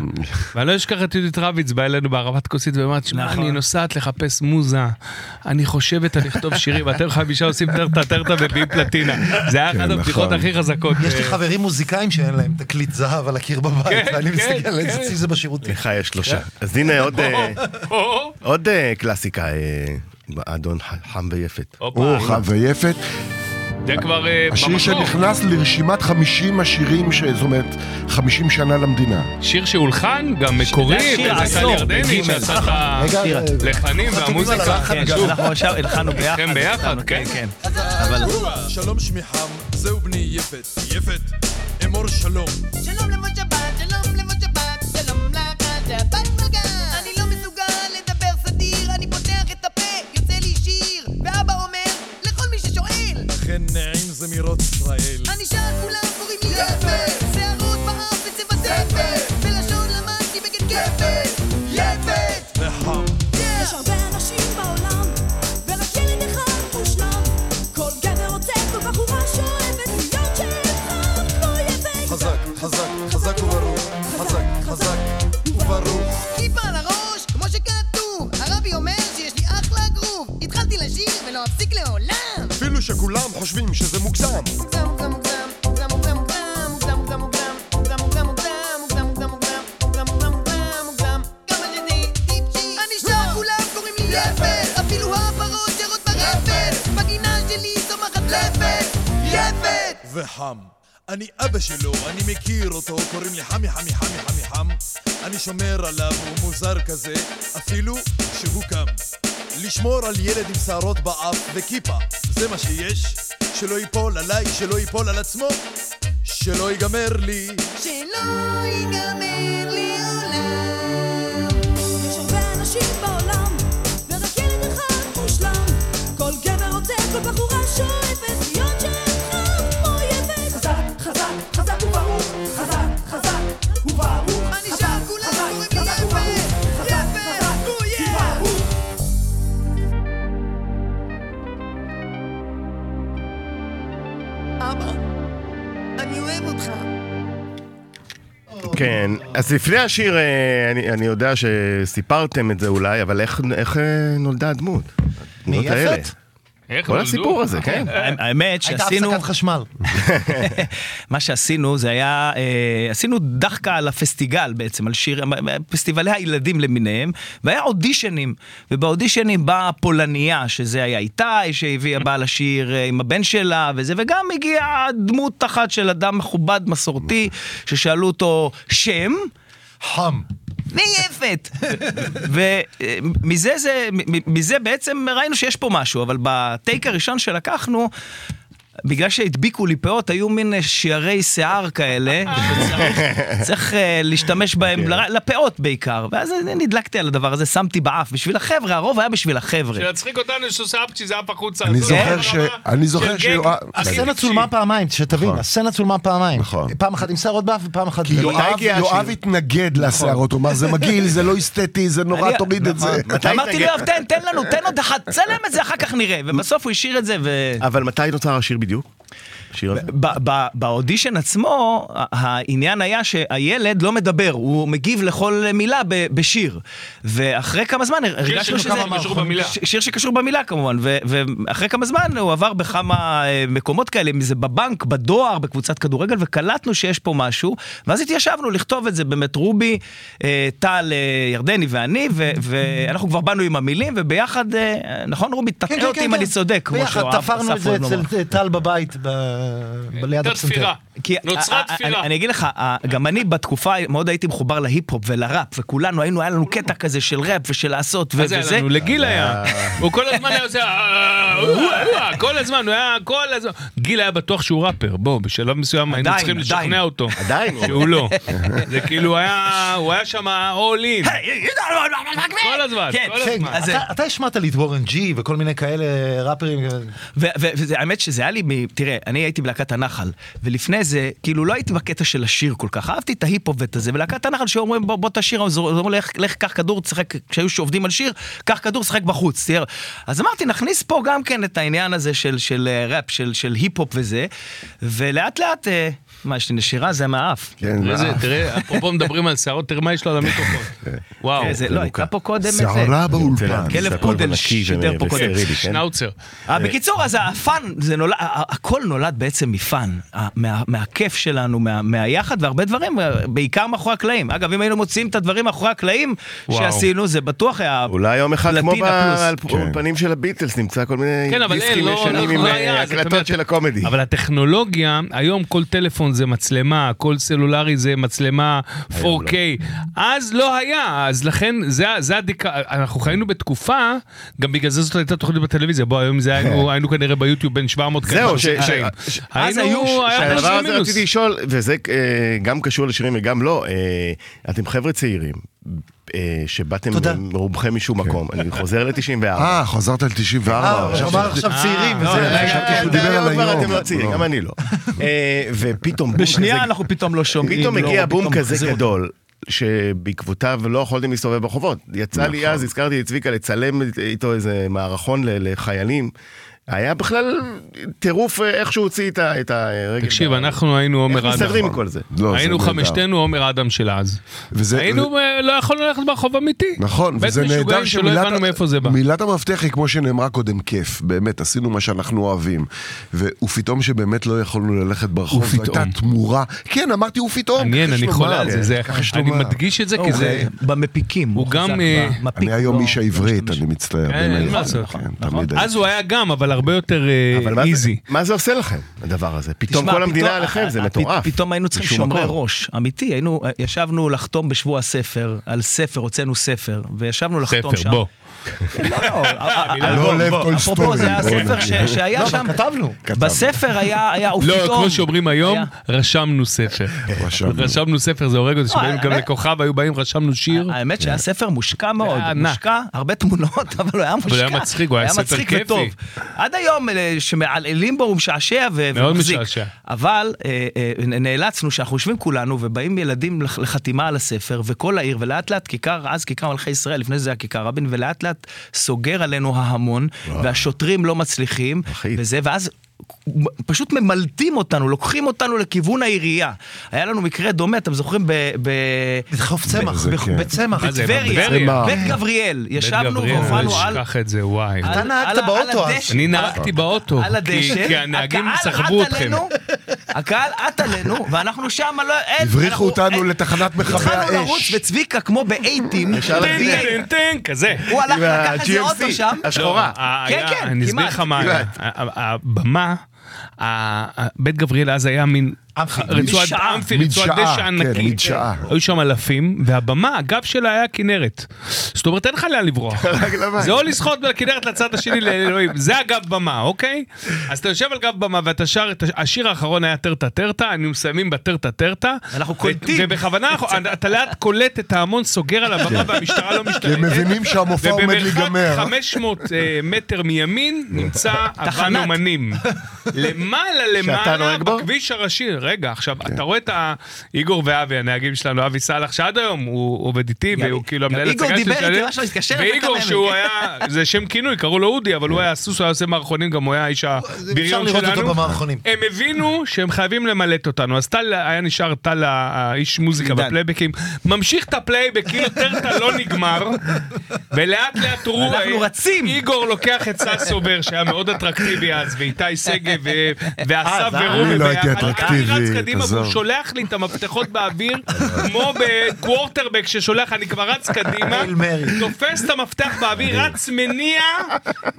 Speaker 5: ואני לא אשכח את יהודית רביץ, באה אלינו בהרמת כוסית ואמרת, שמע,
Speaker 3: נכון.
Speaker 5: אני נוסעת לחפש מוזה, אני חושבת על לכתוב שירים, ואתם חמישה עושים טרטה טרטה ומביאים פלטינה. זה היה
Speaker 3: כן,
Speaker 5: אחת
Speaker 3: נכון.
Speaker 5: הבדיחות הכי חזקות.
Speaker 4: יש לי חברים מוזיקאים שאין להם תקליט זהב על הקיר בבית,
Speaker 5: כן,
Speaker 4: ואני
Speaker 5: כן,
Speaker 4: מסתכל על איזה
Speaker 5: כן.
Speaker 4: צי זה בשירותים.
Speaker 2: לך יש שלושה. אז הנה עוד, אה, עוד אה, קלאסיקה, אה, אדון ח- חם ויפת.
Speaker 5: הופה,
Speaker 3: אורך ויפת.
Speaker 5: זה כבר אה,
Speaker 3: השיר
Speaker 5: במקור.
Speaker 3: שנכנס לרשימת 50 השירים, ש- זאת אומרת, 50 שנה למדינה.
Speaker 5: שיר שהולחן, גם מקורי,
Speaker 6: שיר
Speaker 5: וזה כאן
Speaker 6: עשור,
Speaker 5: ירדני,
Speaker 6: בגימל.
Speaker 5: שעשה את ה-
Speaker 4: רגע,
Speaker 6: שירה.
Speaker 4: אה,
Speaker 5: לחנים והמוזיקה.
Speaker 6: כן,
Speaker 5: שוב,
Speaker 6: אנחנו עכשיו הלחנו ביחד.
Speaker 5: אתם ביחד,
Speaker 6: עשינו,
Speaker 5: כן.
Speaker 6: כן.
Speaker 8: שלום שמי חם, זהו בני יפת. יפת, אמור שלום.
Speaker 11: שלום למושבת, שלום למושבת, שלום לך, בת מלכה. אני לא מסוגל לדבר סדיר, אני פותח את הפה, יוצא לי שיר, ואבא אומר לכל מי ששואל.
Speaker 8: אכן נעים זמירות ישראל.
Speaker 11: אני שרה כולם קוראים לי יפת, שערות באף וצבע זפת, ולשון למדתי בגן גפת, יפת!
Speaker 8: וחם.
Speaker 11: יש הרבה אנשים בעולם, ורק ילד אחד מושלם. כל גבר רוצה, כל בחורה שאוהבת להיות שלך, כמו יפת.
Speaker 8: חזק, חזק, חזק וברור. חזק, חזק וברור.
Speaker 11: כיפה על הראש, כמו שכתוב. הרבי אומר שיש לי אחלה גרוב. התחלתי לשיר ולא אפסיק לעולם.
Speaker 8: אפילו שכולם חושבים שזה מוגזם.
Speaker 11: מוגזם, מוגזם, מוגזם, מוגזם, מוגזם, מוגזם, מוגזם, מוגזם, מוגזם, מוגזם, מוגזם, מוגזם, מוגזם, מוגזם, מוגזם. גם על ידי טיפשי. אני שר, כולם קוראים לי יפת. אפילו הפרות שרות ברפת. בגינה שלי צומחת לפת. יפת!
Speaker 12: וחם. אני אבא שלו, אני מכיר אותו, קוראים לי חמי חמי חמי חמי חם. אני שומר עליו, הוא מוזר כזה, אפילו שהוא קם. לשמור על ילד עם שערות באף וכיפה, זה מה שיש. שלא ייפול עליי, שלא ייפול על עצמו, שלא ייגמר לי.
Speaker 11: שלא ייגמר לעולם. יש הרבה אנשים בעולם, ורק ילד אחד מושלם. כל גבר רוצה, כל בחורה שואפת להיות שלך אויבת. חזק, חזק, חזק וברוך. חזק, חזק וברוך. אני שם, כולם קוראים לי יפת. יפת, בויה. אבא, אני אוהב אותך.
Speaker 2: כן, אז לפני השיר, אה, אני, אני יודע שסיפרתם את זה אולי, אבל איך, איך אה, נולדה הדמות? הדמויות
Speaker 6: מיפת?
Speaker 2: האלה.
Speaker 6: איך
Speaker 2: כל
Speaker 6: נולדו?
Speaker 2: הסיפור הזה, כן.
Speaker 6: האמת האמת
Speaker 4: הייתה
Speaker 6: שעשינו...
Speaker 4: הפסקת חשמל.
Speaker 6: מה שעשינו זה היה, אה, עשינו דחקה על הפסטיגל בעצם, על שיר, פסטיבלי הילדים למיניהם, והיה אודישנים, ובאודישנים באה הפולניה, שזה היה איתי, שהביאה בעל השיר אה, עם הבן שלה וזה, וגם הגיעה דמות אחת של אדם מכובד מסורתי, ששאלו אותו שם.
Speaker 4: חם.
Speaker 6: נייפת. ומזה אה, זה, מ- מזה בעצם ראינו שיש פה משהו, אבל בטייק הראשון שלקחנו, בגלל שהדביקו לי פאות, היו מין שיירי שיער כאלה, שצריך צריך, אה, להשתמש בהם ל- לפאות בעיקר. ואז אני נדלקתי על הדבר הזה, שמתי באף, בשביל החבר'ה, הרוב היה בשביל החבר'ה.
Speaker 5: שיצחיק אותנו שסבצ'י זה אף החוצה.
Speaker 6: אני
Speaker 5: זו
Speaker 6: זוכר
Speaker 5: הרמה
Speaker 6: ש- אני זוכר
Speaker 5: של
Speaker 6: ש-
Speaker 5: גג.
Speaker 6: אה,
Speaker 5: הסצנה
Speaker 4: הסצנה צולמה פעמיים, שתבין, הסצנה צולמה פעמיים. פעם אחת עם שערות באף ופעם אחת...
Speaker 3: נכון. כי יואב- יואב התנגד
Speaker 4: נכון.
Speaker 3: לשיערות, הוא אמר זה מגעיל, זה לא אסתטי, זה נורא,
Speaker 6: אני-
Speaker 3: תוריד את זה.
Speaker 5: נכון.
Speaker 6: אמרתי לו, "יואב, תן, תן לנו, תן עוד אחת, צלם את זה, אחר כך נראה. ובסוף הוא השאיר את זה, ו...
Speaker 2: אבל מתי נוצר השיר בדיוק? השיר הזה?
Speaker 6: ב- ב- באודישן עצמו, ה- העניין היה שהילד לא מדבר, הוא מגיב לכל מילה ב- בשיר. ואחרי כמה זמן הרגשנו שזה...
Speaker 5: שקשור במילה.
Speaker 6: ש- שיר שקשור במילה כמובן, ו- ואחרי כמה זמן הוא עבר בכמה אה, מקומות כאלה, אם זה בבנק, בדואר, בקבוצת כדורגל, וקלטנו שיש פה משהו, ואז התיישבנו לכתוב את זה באמת רובי, אה, טל, אה, ירדני ואני, ו- ואנחנו כבר באנו עם המילים, וביחד, אה, נכון רובי?
Speaker 4: כן,
Speaker 6: תטעה אותי אם אני צודק, כמו
Speaker 4: ביחד
Speaker 6: שאוהב,
Speaker 4: תפרנו את
Speaker 6: אסף
Speaker 4: זה
Speaker 6: אוהב לומר.
Speaker 4: אצל אה, טל בבית, ב- ב- ליד הפסנתר.
Speaker 6: כי-
Speaker 4: נוצרה
Speaker 6: א- א-
Speaker 4: תפירה.
Speaker 6: אני- אני אגיד לך, א- גם אני בתקופה מאוד הייתי מחובר להיפ-הופ ולראפ, וכולנו היינו, היה לנו קטע כזה של ראפ ושל לעשות, ו-
Speaker 5: מה זה היה
Speaker 6: וזה. אה,
Speaker 5: לנו? לגיל היה. הוא כל הזמן היה עושה, "אה, אה, אה, אה", כל הזמן, הוא היה כל הזמן. גיל היה בטוח שהוא ראפר, בוא, בשלב מסוים היינו
Speaker 6: עדיין,
Speaker 5: צריכים
Speaker 6: עדיין.
Speaker 5: לשכנע אותו.
Speaker 2: עדיין.
Speaker 5: שהוא לא. זה כאילו היה, הוא היה שם all in. כל הזמן,
Speaker 4: כן,
Speaker 5: כל
Speaker 4: כן,
Speaker 5: הזמן.
Speaker 4: אתה- אתה השמעת לי את וורן ג'י וכל מיני כאלה ראפרים.
Speaker 6: והאמת שזה היה לי, מ- תראה, אני הייתי בלהקת הנחל, ולפני זה, כאילו לא הייתי בקטע של השיר כל כך, אהבתי את ההיפ-הופ ואת הזה, ולהקת הנחל שאומרים בוא בוא תשיר, אז אומרים לך לך, קח כדור, תשחק, כשהיו שעובדים על שיר, קח כדור, שחק בחוץ, תראה. אז אמרתי, נכניס פה גם כן את העניין הזה של- של אה, ראפ, של- של היפ-הופ וזה, ולאט לאט, אה, מה, יש לי נשירה? זה מהאף.
Speaker 3: כן,
Speaker 5: תראה זה, תראה, אפרופו מדברים על שערות, תראה מה יש לו על המיקרופון. וואו.
Speaker 6: זה לא, הייתה פה קודם איזה...
Speaker 3: שערה
Speaker 5: כן.
Speaker 3: באולפן.
Speaker 6: כלב פודל שידר פה קודם.
Speaker 2: כן?
Speaker 5: שנאוצר.
Speaker 6: אה, בקיצור, אז הפאן, זה נולד, ה- הכל נולד בעצם מפאן, ה- מה- מהכיף שלנו, מה- מהיחד, והרבה דברים, אה, בעיקר מאחורי הקלעים. אגב, אם היינו מוציאים את הדברים מאחורי הקלעים
Speaker 2: וואו.
Speaker 6: שעשינו, זה בטוח היה...
Speaker 2: אולי יום אחד כמו
Speaker 6: פלטינה פלוס.
Speaker 2: באולפנים
Speaker 3: כן.
Speaker 2: של הביטלס, נמצא כל מיני
Speaker 5: כן, אבל אין,
Speaker 2: דיסקים
Speaker 5: לא-
Speaker 2: ישנים
Speaker 5: לא-
Speaker 2: עם
Speaker 5: לא
Speaker 2: אה,
Speaker 5: היה, זאת
Speaker 2: הקלטות
Speaker 5: אומרת-
Speaker 2: של הקומדי.
Speaker 5: אבל הטכנולוגיה, היום כל טלפון זה מצלמה, כל סלולרי זה מצלמה
Speaker 2: לא.
Speaker 5: 4K. אז לא היה, אז לכן זה, זה הדיק... אנחנו חיינו בתקופה, גם בגלל זה זאת הייתה תוכנית בטלוויזיה, בוא, היום זה היינו, היינו כנראה ביוטיוב בין 700 כאלה.
Speaker 2: כן. זהו, ש- ש-
Speaker 5: חיים.
Speaker 2: ש-
Speaker 5: היינו, לא, היה פלוס
Speaker 2: שהדבר הזה
Speaker 5: ומינוס.
Speaker 2: רציתי לשאול, וזה אה, גם קשור לשירים וגם לא, אה, אתם חבר'ה צעירים, אה, שבאתם רובכם משום מקום, אני חוזר ל-94.
Speaker 3: כן. אה, חזרת על 94.
Speaker 4: אה,
Speaker 2: הוא אמר עכשיו
Speaker 6: אה,
Speaker 5: אה,
Speaker 2: צעירים,
Speaker 3: וזה, חשבתי שהוא דיבר על היום.
Speaker 2: אתם לא צעירים, גם אני לא. אה, ופתאום... בום
Speaker 6: בשנייה
Speaker 2: כזה-
Speaker 6: אנחנו פתאום לא שומעים,
Speaker 2: פתאום
Speaker 6: לא,
Speaker 2: הגיע בום
Speaker 6: פתאום
Speaker 2: כזה
Speaker 6: מחזיר אותנו.
Speaker 2: גדול. שבעקבותיו לא יכולתם להסתובב ברחובות. יצא
Speaker 5: נכון.
Speaker 2: לי אז, הזכרתי את צביקה, לצלם איתו איזה מערכון ל- לחיילים. היה בכלל טירוף אה, איך שהוא הוציא את ה- את הרגל. אה,
Speaker 5: תקשיב, אנחנו אה, היינו עומר אדם.
Speaker 2: איך מסתדרים עם כל זה?
Speaker 3: לא,
Speaker 5: היינו חמשתנו עומר אדם של אז. היינו, אה, לא יכולנו ללכת ברחוב אמיתי.
Speaker 3: נכון,
Speaker 5: בית
Speaker 3: וזה נהדר
Speaker 5: משוגעים שלא הבנו מאיפה זה בא.
Speaker 3: מילת המפתח היא כמו שנאמרה קודם, כיף. באמת, עשינו מה שאנחנו אוהבים. ו- ופתאום שבאמת לא יכולנו ללכת ברחוב, זו
Speaker 5: ופתאום.
Speaker 3: הייתה תמורה. כן, אמרתי ופתאום.
Speaker 5: מעניין,
Speaker 3: כך יש
Speaker 5: אני חולה
Speaker 3: לומר.
Speaker 5: על זה, זה,
Speaker 2: כן,
Speaker 3: כך יש
Speaker 5: אני
Speaker 3: לומר.
Speaker 5: מדגיש את זה כי
Speaker 3: אוקיי.
Speaker 5: זה...
Speaker 6: במפיקים.
Speaker 5: הוא גם... אה,
Speaker 6: לא-
Speaker 3: אני היום איש העברית, אני מצטער.
Speaker 5: אין
Speaker 3: בין
Speaker 5: מה
Speaker 3: היחיד,
Speaker 5: לעשות. נכון.
Speaker 3: כן, תמיד הייתי.
Speaker 5: אז הוא היה גם, אבל אבל הרבה יותר אה,
Speaker 2: אבל מה זה-
Speaker 5: איזי.
Speaker 2: מה זה עושה לכם, הדבר הזה? פתאום
Speaker 6: תשמע,
Speaker 2: כל המדינה
Speaker 6: פתאום-
Speaker 2: עליכם, זה
Speaker 6: אה, אה,
Speaker 2: מטורף.
Speaker 6: פ- פתאום היינו צריכים
Speaker 2: בשום
Speaker 6: שומרי
Speaker 2: מקום.
Speaker 6: ראש, אמיתי, היינו, אה, ישבנו לחתום בשבוע הספר, על ספר, הוצאנו ספר, וישבנו לחתום שם.
Speaker 5: ספר, בוא.
Speaker 6: לא, לא, אה,
Speaker 5: לא
Speaker 6: אה,
Speaker 5: לב
Speaker 6: בוא, בוא,
Speaker 5: טולסטוי.
Speaker 6: אפרופו, זה היה
Speaker 5: בוא
Speaker 6: ספר ש-
Speaker 5: נגיד.
Speaker 6: שהיה
Speaker 4: לא,
Speaker 6: שם,
Speaker 4: אבל כתבנו.
Speaker 6: בספר היה, היה, הוא
Speaker 5: לא,
Speaker 6: פתאום,
Speaker 5: כמו שאומרים היום, רשמנו ספר. רשמנו ספר, זה הורג אותי,
Speaker 6: לא, אה,
Speaker 5: שבאים גם
Speaker 6: האמת-
Speaker 5: לכוכב, היו באים, רשמנו שיר.
Speaker 6: האמת
Speaker 4: כן.
Speaker 6: שהיה ספר מושקע מאוד,
Speaker 5: היה ענק.
Speaker 6: מושקע, הרבה תמונות, אבל הוא היה מושקע.
Speaker 5: אה, הוא היה מצחיק, הוא היה ספר
Speaker 6: מצחיק
Speaker 5: כיפי.
Speaker 6: וטוב. עד היום אה, שמעלעלים בו הוא משעשע ו-
Speaker 5: מאוד
Speaker 6: ומחזיק.
Speaker 5: משעשע.
Speaker 6: אבל אה, אה, נ- נאלצנו, שאנחנו יושבים כולנו, ובאים ילדים לח- לחתימה על הספר, וכל העיר, ולאט לאט כיכר, אז כיכר מלכי ישראל, לפני זה היה כיכר רבין, ולאט לאט סוגר עלינו ההמון, והשוטרים לא מצליחים, וזה, ואז... פשוט ממלטים אותנו, לוקחים אותנו לכיוון העירייה. היה לנו מקרה דומה, אתם זוכרים? ב... ב...
Speaker 4: בחוף צמח,
Speaker 6: ב-
Speaker 4: בח-
Speaker 6: כן.
Speaker 4: בצמח.
Speaker 5: מה זה,
Speaker 6: בטבריה,
Speaker 5: בטבריה?
Speaker 6: בית גבריאל, ישבנו
Speaker 5: בית גבריאל,
Speaker 6: והופענו
Speaker 5: אני
Speaker 6: על...
Speaker 5: אשכח את זה, וואי.
Speaker 4: אתה נהגת באוטו אז.
Speaker 5: אני נהגתי באוטו,
Speaker 6: על
Speaker 5: כי-
Speaker 6: הדשא,
Speaker 5: כי הנהגים
Speaker 6: הקהל
Speaker 5: סחבו
Speaker 6: עט
Speaker 5: אתכם.
Speaker 6: עלינו, הקהל עט עלינו, ואנחנו שם, לא... אין,
Speaker 3: הבריחו
Speaker 6: אנחנו-
Speaker 3: אותנו
Speaker 6: אין.
Speaker 3: לתחנת מכבי
Speaker 6: התחלנו לרוץ,
Speaker 3: האש.
Speaker 6: וצביקה כמו באייטים,
Speaker 2: ישר לדלק.
Speaker 5: טן, טן, כזה.
Speaker 6: הוא הלך
Speaker 2: עם
Speaker 6: לקח איזה
Speaker 2: ה-
Speaker 6: אוטו
Speaker 2: GMC,
Speaker 6: שם,
Speaker 2: השחורה.
Speaker 5: לא, ה-
Speaker 6: כן,
Speaker 5: היה-
Speaker 6: כן,
Speaker 5: אני אסביר
Speaker 6: כמעט,
Speaker 5: לך מה היה.
Speaker 2: כמעט.
Speaker 5: ה- ה- הבמה, ה- ה- בית גבריאל אז היה מין...
Speaker 4: אמפי.
Speaker 5: רצועת
Speaker 6: מדשאה.
Speaker 5: אמפי, רצועת
Speaker 3: מדשאה,
Speaker 5: דשא
Speaker 3: כן,
Speaker 5: ענקית.
Speaker 3: מדשאה.
Speaker 5: היו שם אלפים, והבמה, הגב שלה היה כנרת. זאת אומרת, אין לך לאן לברוח. זה או לשחות מהכנרת לצד השני לאלוהים. זה הגב במה, אוקיי? אז אתה יושב על גב במה ואתה שר את הש- השיר האחרון היה טרטה טרטה, היינו מסיימים בטרטה טרטה.
Speaker 6: אנחנו קולטים.
Speaker 5: ו- ובכוונה אנחנו- אתה לאט קולט את ההמון סוגר על הבמה והמשטרה לא
Speaker 3: כי
Speaker 5: משתלטת.
Speaker 3: הם מבינים שהמופע עומד להיגמר.
Speaker 5: ובמרחק 500 אה, מטר מימין נמצא הבן
Speaker 6: תחנת.
Speaker 5: אומנים. למעלה
Speaker 2: שאתה
Speaker 5: למעלה
Speaker 2: נוהג בו?
Speaker 5: בכביש הראשי. רגע, עכשיו,
Speaker 6: כן.
Speaker 5: אתה רואה את ה- איגור ואבי, הנהגים שלנו, אבי סאלח, שעד היום הוא עובד איתי,
Speaker 6: גם-
Speaker 5: והוא כאילו
Speaker 6: גם
Speaker 5: המנהל
Speaker 6: איגור
Speaker 5: הצגה שלי.
Speaker 6: דיבר איתי,
Speaker 5: שאני-
Speaker 6: ממש לא התקשר לפני
Speaker 5: ואיגור,
Speaker 6: כמה
Speaker 5: שהוא
Speaker 6: ימים.
Speaker 5: היה, זה שם כינוי, קראו לו אודי, אבל הוא היה סוס, הוא היה עושה מערכונים, גם הוא היה האיש
Speaker 4: אפשר
Speaker 5: הבריון
Speaker 4: לראות אותו
Speaker 5: שלנו.
Speaker 4: במערכונים.
Speaker 5: הם הבינו שהם חייבים למלט אותנו, אז טל היה נשאר טל האיש מוזיקה
Speaker 6: עידן.
Speaker 5: בפלייבקים, ממשיך את הפלייבק כאילו טרטה לא נגמר, ולאט לאט הוא...
Speaker 6: אנחנו רצים.
Speaker 5: איגור לוקח את ססובר שהיה מאוד אטרקטיבי אז, ואיתי שגב, ו-
Speaker 3: אה,
Speaker 5: ואסף
Speaker 4: אני
Speaker 5: ורובי.
Speaker 3: לא הייתי
Speaker 5: ביחד.
Speaker 3: אטרקטיבי,
Speaker 5: אני רץ קדימה והוא
Speaker 3: עזוב.
Speaker 5: שולח לי את המפתחות באוויר, כמו בקוורטרבק ששולח, אני כבר רץ קדימה,
Speaker 4: האל מרי.
Speaker 5: תופס את המפתח באוויר, רץ מניע,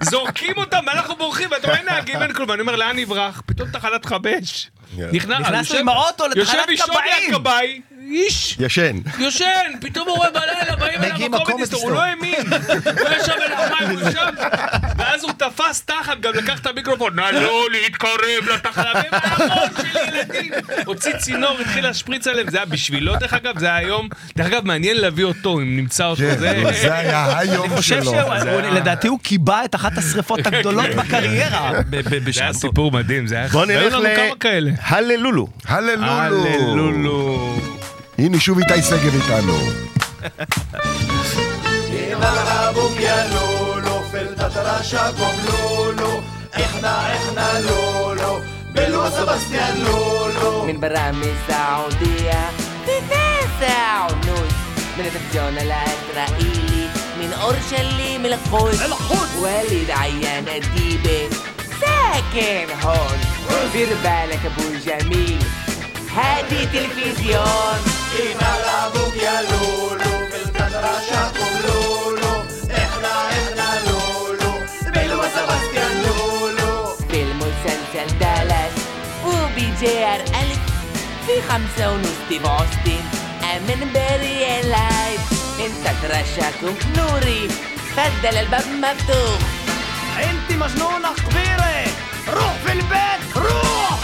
Speaker 5: זורקים אותם, ואנחנו בורחים, ואתה רואה נהגים, אין כלום, ואני אומר, לאן נברח? פתאום תחנת חמש. נכנס-
Speaker 6: נכנסנו
Speaker 5: יושב-
Speaker 6: עם האוטו לתחנת
Speaker 5: יושב אישון
Speaker 6: כבאים.
Speaker 5: מהכבאי, איש
Speaker 2: ישן.
Speaker 5: יושן, פתאום הוא רואה בלילה, באים
Speaker 4: מגיעים
Speaker 5: אליו
Speaker 4: לקומדי
Speaker 5: הקומדיסטור, הוא
Speaker 4: סטור.
Speaker 5: לא האמין. הוא ישב על המים, הוא ישב, ואז הוא תפס תחת, גם לקח את המיקרופון, נא לא להתקרב לתחלמים, המון של ילדים. הוציא צינור, התחיל להשפריץ עליהם, זה היה בשבילו, דרך אגב, זה היה יום, דרך אגב, מעניין להביא אותו, אם נמצא אותו,
Speaker 3: כן,
Speaker 5: זה...
Speaker 3: אבל זה היה היום
Speaker 6: אני חושב
Speaker 3: שלו.
Speaker 6: שלדעתי הוא קיבע את אחת השריפות
Speaker 5: כן,
Speaker 6: הגדולות בקריירה ב- ב-
Speaker 5: זה היה
Speaker 6: בשעתו.
Speaker 5: סיפור מדהים, זה היה...
Speaker 2: בוא נלך
Speaker 5: והיו לנו כמה כאלה.
Speaker 2: ל... הללולו.
Speaker 3: הללולו.
Speaker 5: הללולו.
Speaker 3: הנה שוב איתי שגב איתנו.
Speaker 9: من برامج سعودية تسع ونص من التلفزيون الإسرائيلي من أورشليم من القدس والد عيان الديبة ساكن هون دير بالك أبو جميل هادي تلفزيون بالمسلسل دالاس وبي جي ار ألف في خمسة ونص في أوستن أمن باري لايف انت ترشاكم نوري تفضل الباب مفتوح
Speaker 6: انت مجنونة كبيرة روح في البيت روح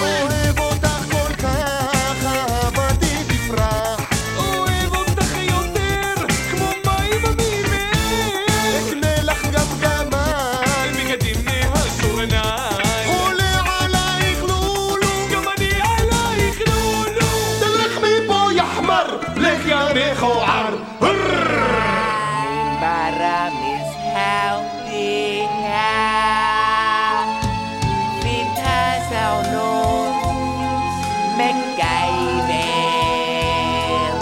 Speaker 8: אוהב אותך כל כך, אהבתי תפרח. אוהב אותך יותר, כמו מים אמירים. אקנה לך גמגמה, בגדים מהסורנה. עולה עלייך לולו, גם אני עלייך לולו. תלך מפה יא חמר, לך יא מכוער.
Speaker 9: برامج هاوديها في تاسع ونص من جايبين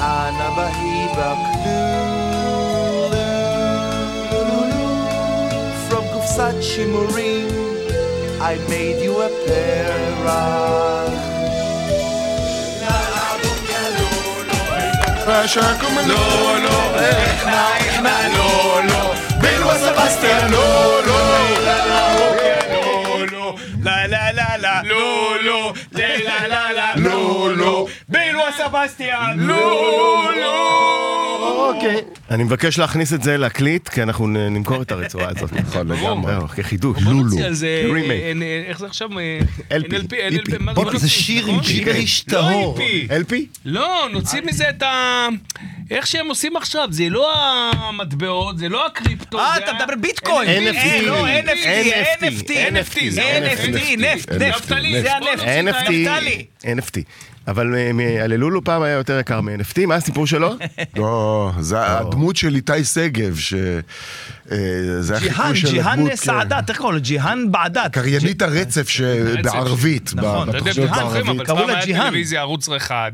Speaker 8: أنا بهيبك From קופסת שימורים I made you a pair of الرشاكم לא, לא, איכנה, איכנה, לא, לא, בילו סבסטיה, לא, לא, לא, לא, לא, לא, לא, לא, לא, לא, לא, לא, לא, לא, לא, לא, בילו סבסטיה, לא, לא.
Speaker 2: אוקיי. אני מבקש להכניס את זה להקליט, כי אנחנו נ- נמכור את הרצועה הזאת. נכון, לגמרי. כחידוש. לולו.
Speaker 5: נוציא על זה,
Speaker 2: רימייק.
Speaker 5: אה, אה, איך זה עכשיו?
Speaker 2: LP,
Speaker 5: NLP,
Speaker 2: EP.
Speaker 5: מה
Speaker 2: E בוא,
Speaker 5: נוציא?
Speaker 2: זה שיר עם
Speaker 5: נכון?
Speaker 2: שיגריש
Speaker 5: לא
Speaker 2: טהור.
Speaker 5: EP.
Speaker 2: LP?
Speaker 5: לא, נוציא מזה את ה... איך שהם עושים עכשיו, זה לא המטבעות, זה לא הקריפטו. אה, אתה מדבר
Speaker 6: ביטקוין.
Speaker 2: אה,
Speaker 5: NFT.
Speaker 6: לא, NFT,
Speaker 5: NFT,
Speaker 6: NFT,
Speaker 5: זה
Speaker 6: NFT, נפט, נפט,
Speaker 5: נפתלי,
Speaker 6: זה
Speaker 5: נפט.
Speaker 6: הנפט,
Speaker 2: NFT,
Speaker 6: נפתלי.
Speaker 2: NFT. אבל אה, מ- הללולו פעם היה יותר יקר מ-NFT, מה הסיפור שלו?
Speaker 3: לא, זה הדמות של איתי שגב, ש... אה, זה
Speaker 6: ג'יהאן,
Speaker 3: החיקוי של הדמות...
Speaker 6: ג'יהאן סעדת, איך קוראים לו? ג'יהאן בעדת.
Speaker 3: קריינית הרצף שבערבית,
Speaker 6: נכון,
Speaker 5: אתה יודע,
Speaker 3: בתוכניות
Speaker 5: ג'יהאן, זוכרים,
Speaker 3: בערבית.
Speaker 5: אבל
Speaker 6: קראו
Speaker 5: פעם
Speaker 6: לה
Speaker 5: היה
Speaker 6: ג'יהאן.
Speaker 5: טלוויזיה ערוץ אחד.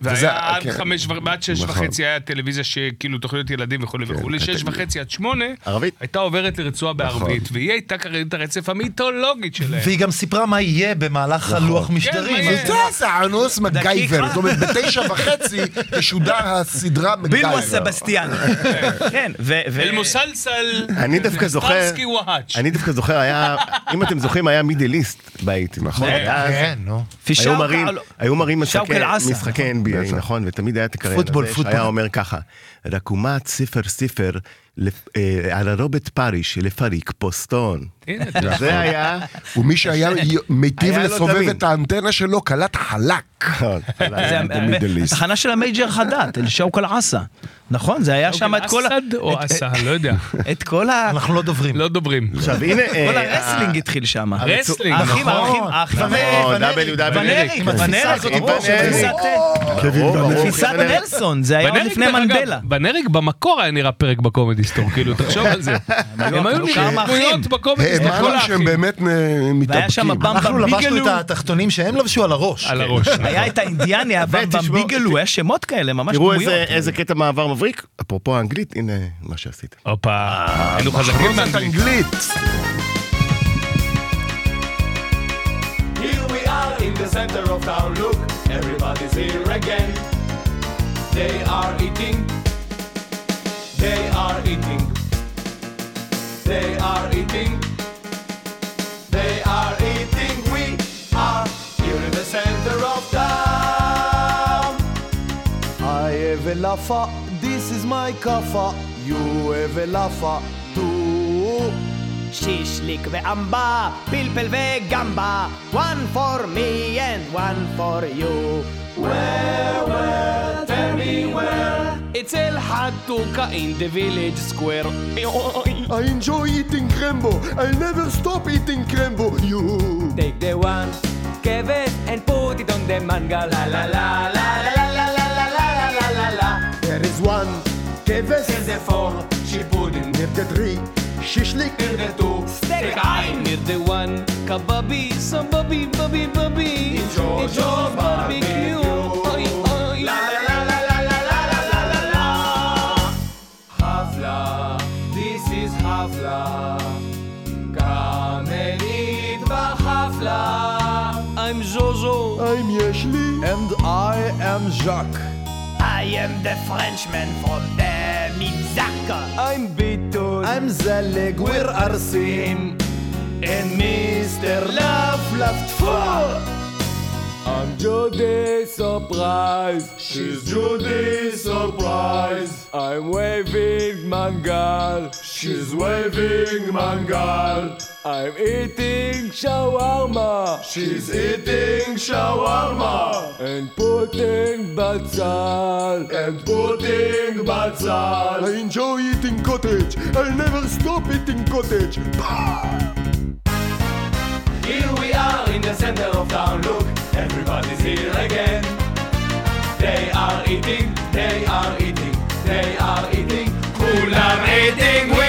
Speaker 3: וזה-
Speaker 5: והיה עד
Speaker 3: כן.
Speaker 5: חמש, ו- ועד שש
Speaker 3: נכון.
Speaker 5: וחצי היה טלוויזיה שכאילו תוכניות ילדים וכולי וכולי, שש וחצי עד שמונה,
Speaker 2: ערבית.
Speaker 5: הייתה עוברת לרצועה בערבית, והיא הייתה קריינת הרצף המיתולוגית שלהם.
Speaker 4: והיא גם סיפרה מה יהיה במהלך
Speaker 3: נכון.
Speaker 4: הלוח
Speaker 5: כן. מה
Speaker 4: משדרים.
Speaker 5: יהיה?
Speaker 4: אז-
Speaker 3: תעשה אנוס מגייבר, זאת אומרת בתשע וחצי תשודר הסדרה
Speaker 6: בילווה
Speaker 3: מגייבר.
Speaker 6: סבסטיאן. כן, ו... ו-
Speaker 5: אל מוסלסל,
Speaker 2: אני דווקא זוכר,
Speaker 5: טרסקי וואץ'.
Speaker 2: אני דווקא זוכר, היה, אם אתם זוכרים, היה מידל איסט בעיתי, נכון? היה-
Speaker 4: כן, נו.
Speaker 6: פישאוקה,
Speaker 2: היו מראים,
Speaker 6: לא-
Speaker 2: היו מראים
Speaker 6: שאוקה
Speaker 2: משחקי-
Speaker 6: אל-עסה,
Speaker 2: משחקי NBA, נכון, ותמיד היה את הקריין הזה,
Speaker 4: פוטבול, פוטבול.
Speaker 2: שהיה אומר ככה, רקומת ספר ספר לפ- אה, על רוברט פריש לפריק פוסטון.
Speaker 5: הנה, אתה
Speaker 6: נכון.
Speaker 2: זה היה,
Speaker 3: ומי שהיה מיטיב
Speaker 2: היה לו
Speaker 3: לסובב
Speaker 2: תמיד.
Speaker 3: את האנטנה שלו, קלט חלק.
Speaker 6: זה
Speaker 3: נכון. Middle East.
Speaker 6: אה, התחנה של המייג'ר חדד, אל שאוק אל עסה. נכון, זה היה שם את כל ה...
Speaker 5: אסד או
Speaker 6: את-
Speaker 5: אסה, לא יודע.
Speaker 6: את כל ה...
Speaker 4: אנחנו לא דוברים.
Speaker 5: לא דוברים.
Speaker 2: עכשיו הנה, אה,
Speaker 6: כל הרסלינג התחיל שם.
Speaker 5: רסלינג,
Speaker 6: האחים, האחים, האחים.
Speaker 2: נכון, WW.
Speaker 6: אה, ונריק,
Speaker 2: עם התפיסה
Speaker 6: ונריק,
Speaker 2: הזאת,
Speaker 6: ברור,
Speaker 2: ונריק.
Speaker 6: תפיסת-
Speaker 2: ברור, ברור,
Speaker 6: תפיסת
Speaker 2: חבר'ה,
Speaker 6: אה, נלסון, זה היה עוד
Speaker 5: בנריק,
Speaker 6: לפני
Speaker 5: דרך אגב,
Speaker 6: מנדלה.
Speaker 5: בנריק במקור היה נראה פרק בקומדי סטור, כאילו, תחשוב על זה. הם היו
Speaker 6: היו כמה
Speaker 5: נראים דמויות
Speaker 6: אחים.
Speaker 5: בקומדי סטור, כל
Speaker 3: האמנו שהם
Speaker 5: האחים.
Speaker 3: באמת אה,
Speaker 6: והיה שם
Speaker 3: מתאפקים.
Speaker 4: אנחנו
Speaker 6: במבה
Speaker 4: לבשנו
Speaker 6: ביגלו,
Speaker 4: את התחתונים שהם לבשו על הראש.
Speaker 5: על הראש.
Speaker 6: היה את האינדיאני, הבמבה
Speaker 2: ותשמעו-
Speaker 6: ביגלו, היה שמות כאלה, ממש
Speaker 2: תראו
Speaker 6: דמויות.
Speaker 2: איזה- איזה קטע מעבר מבריק, אפרופו האנגלית, הנה מה שעשיתם.
Speaker 5: הופה, היינו חזקים
Speaker 3: זאת
Speaker 5: באנגלית.
Speaker 3: אנגלית.
Speaker 8: Here we are in the center of town, look, everybody's here again. They are eating. They are eating. They are eating. They are eating. We are here in the center of town. I have a laffa, this is my kaffa. You have a laffa too.
Speaker 7: שישליק ואמבה, פלפל וגמבה, one for me and one for you.
Speaker 8: Where, where, tell me where.
Speaker 7: It's El Hatuka in the village square.
Speaker 8: I enjoy eating crembo. I never stop eating crembo. You.
Speaker 7: Take the one, give it and put it on the mangal. La la la la la la la la la la la la la.
Speaker 8: There is one. Keves. Here's the four. She put in. Here's the three. Shishlik. Here's the two.
Speaker 7: Take I need the one, kababi, some bubby, bubby, bubby.
Speaker 8: Enjoy your barbecue.
Speaker 7: Oi, oi.
Speaker 8: La la la la la la la la la la la. Hafla. This is Hafla. Come and eat Hafla.
Speaker 7: I'm Jojo.
Speaker 8: I'm Yeshli. And I am Jacques.
Speaker 7: I am the Frenchman from the Mizaka.
Speaker 8: I'm Beaton. I'm Zaleg. We're Arsim. And Mr. Love Left Four. I'm Judy Surprise. She's Judy Surprise. I'm waving mangal. She's waving mangal. I'm eating shawarma. She's eating shawarma. And putting batzal. And putting batzal. I enjoy eating cottage. I'll never stop eating cottage. Here we are in the center of town. Look, everybody's here again. They are eating, they are eating, they are eating. Kulam eating, we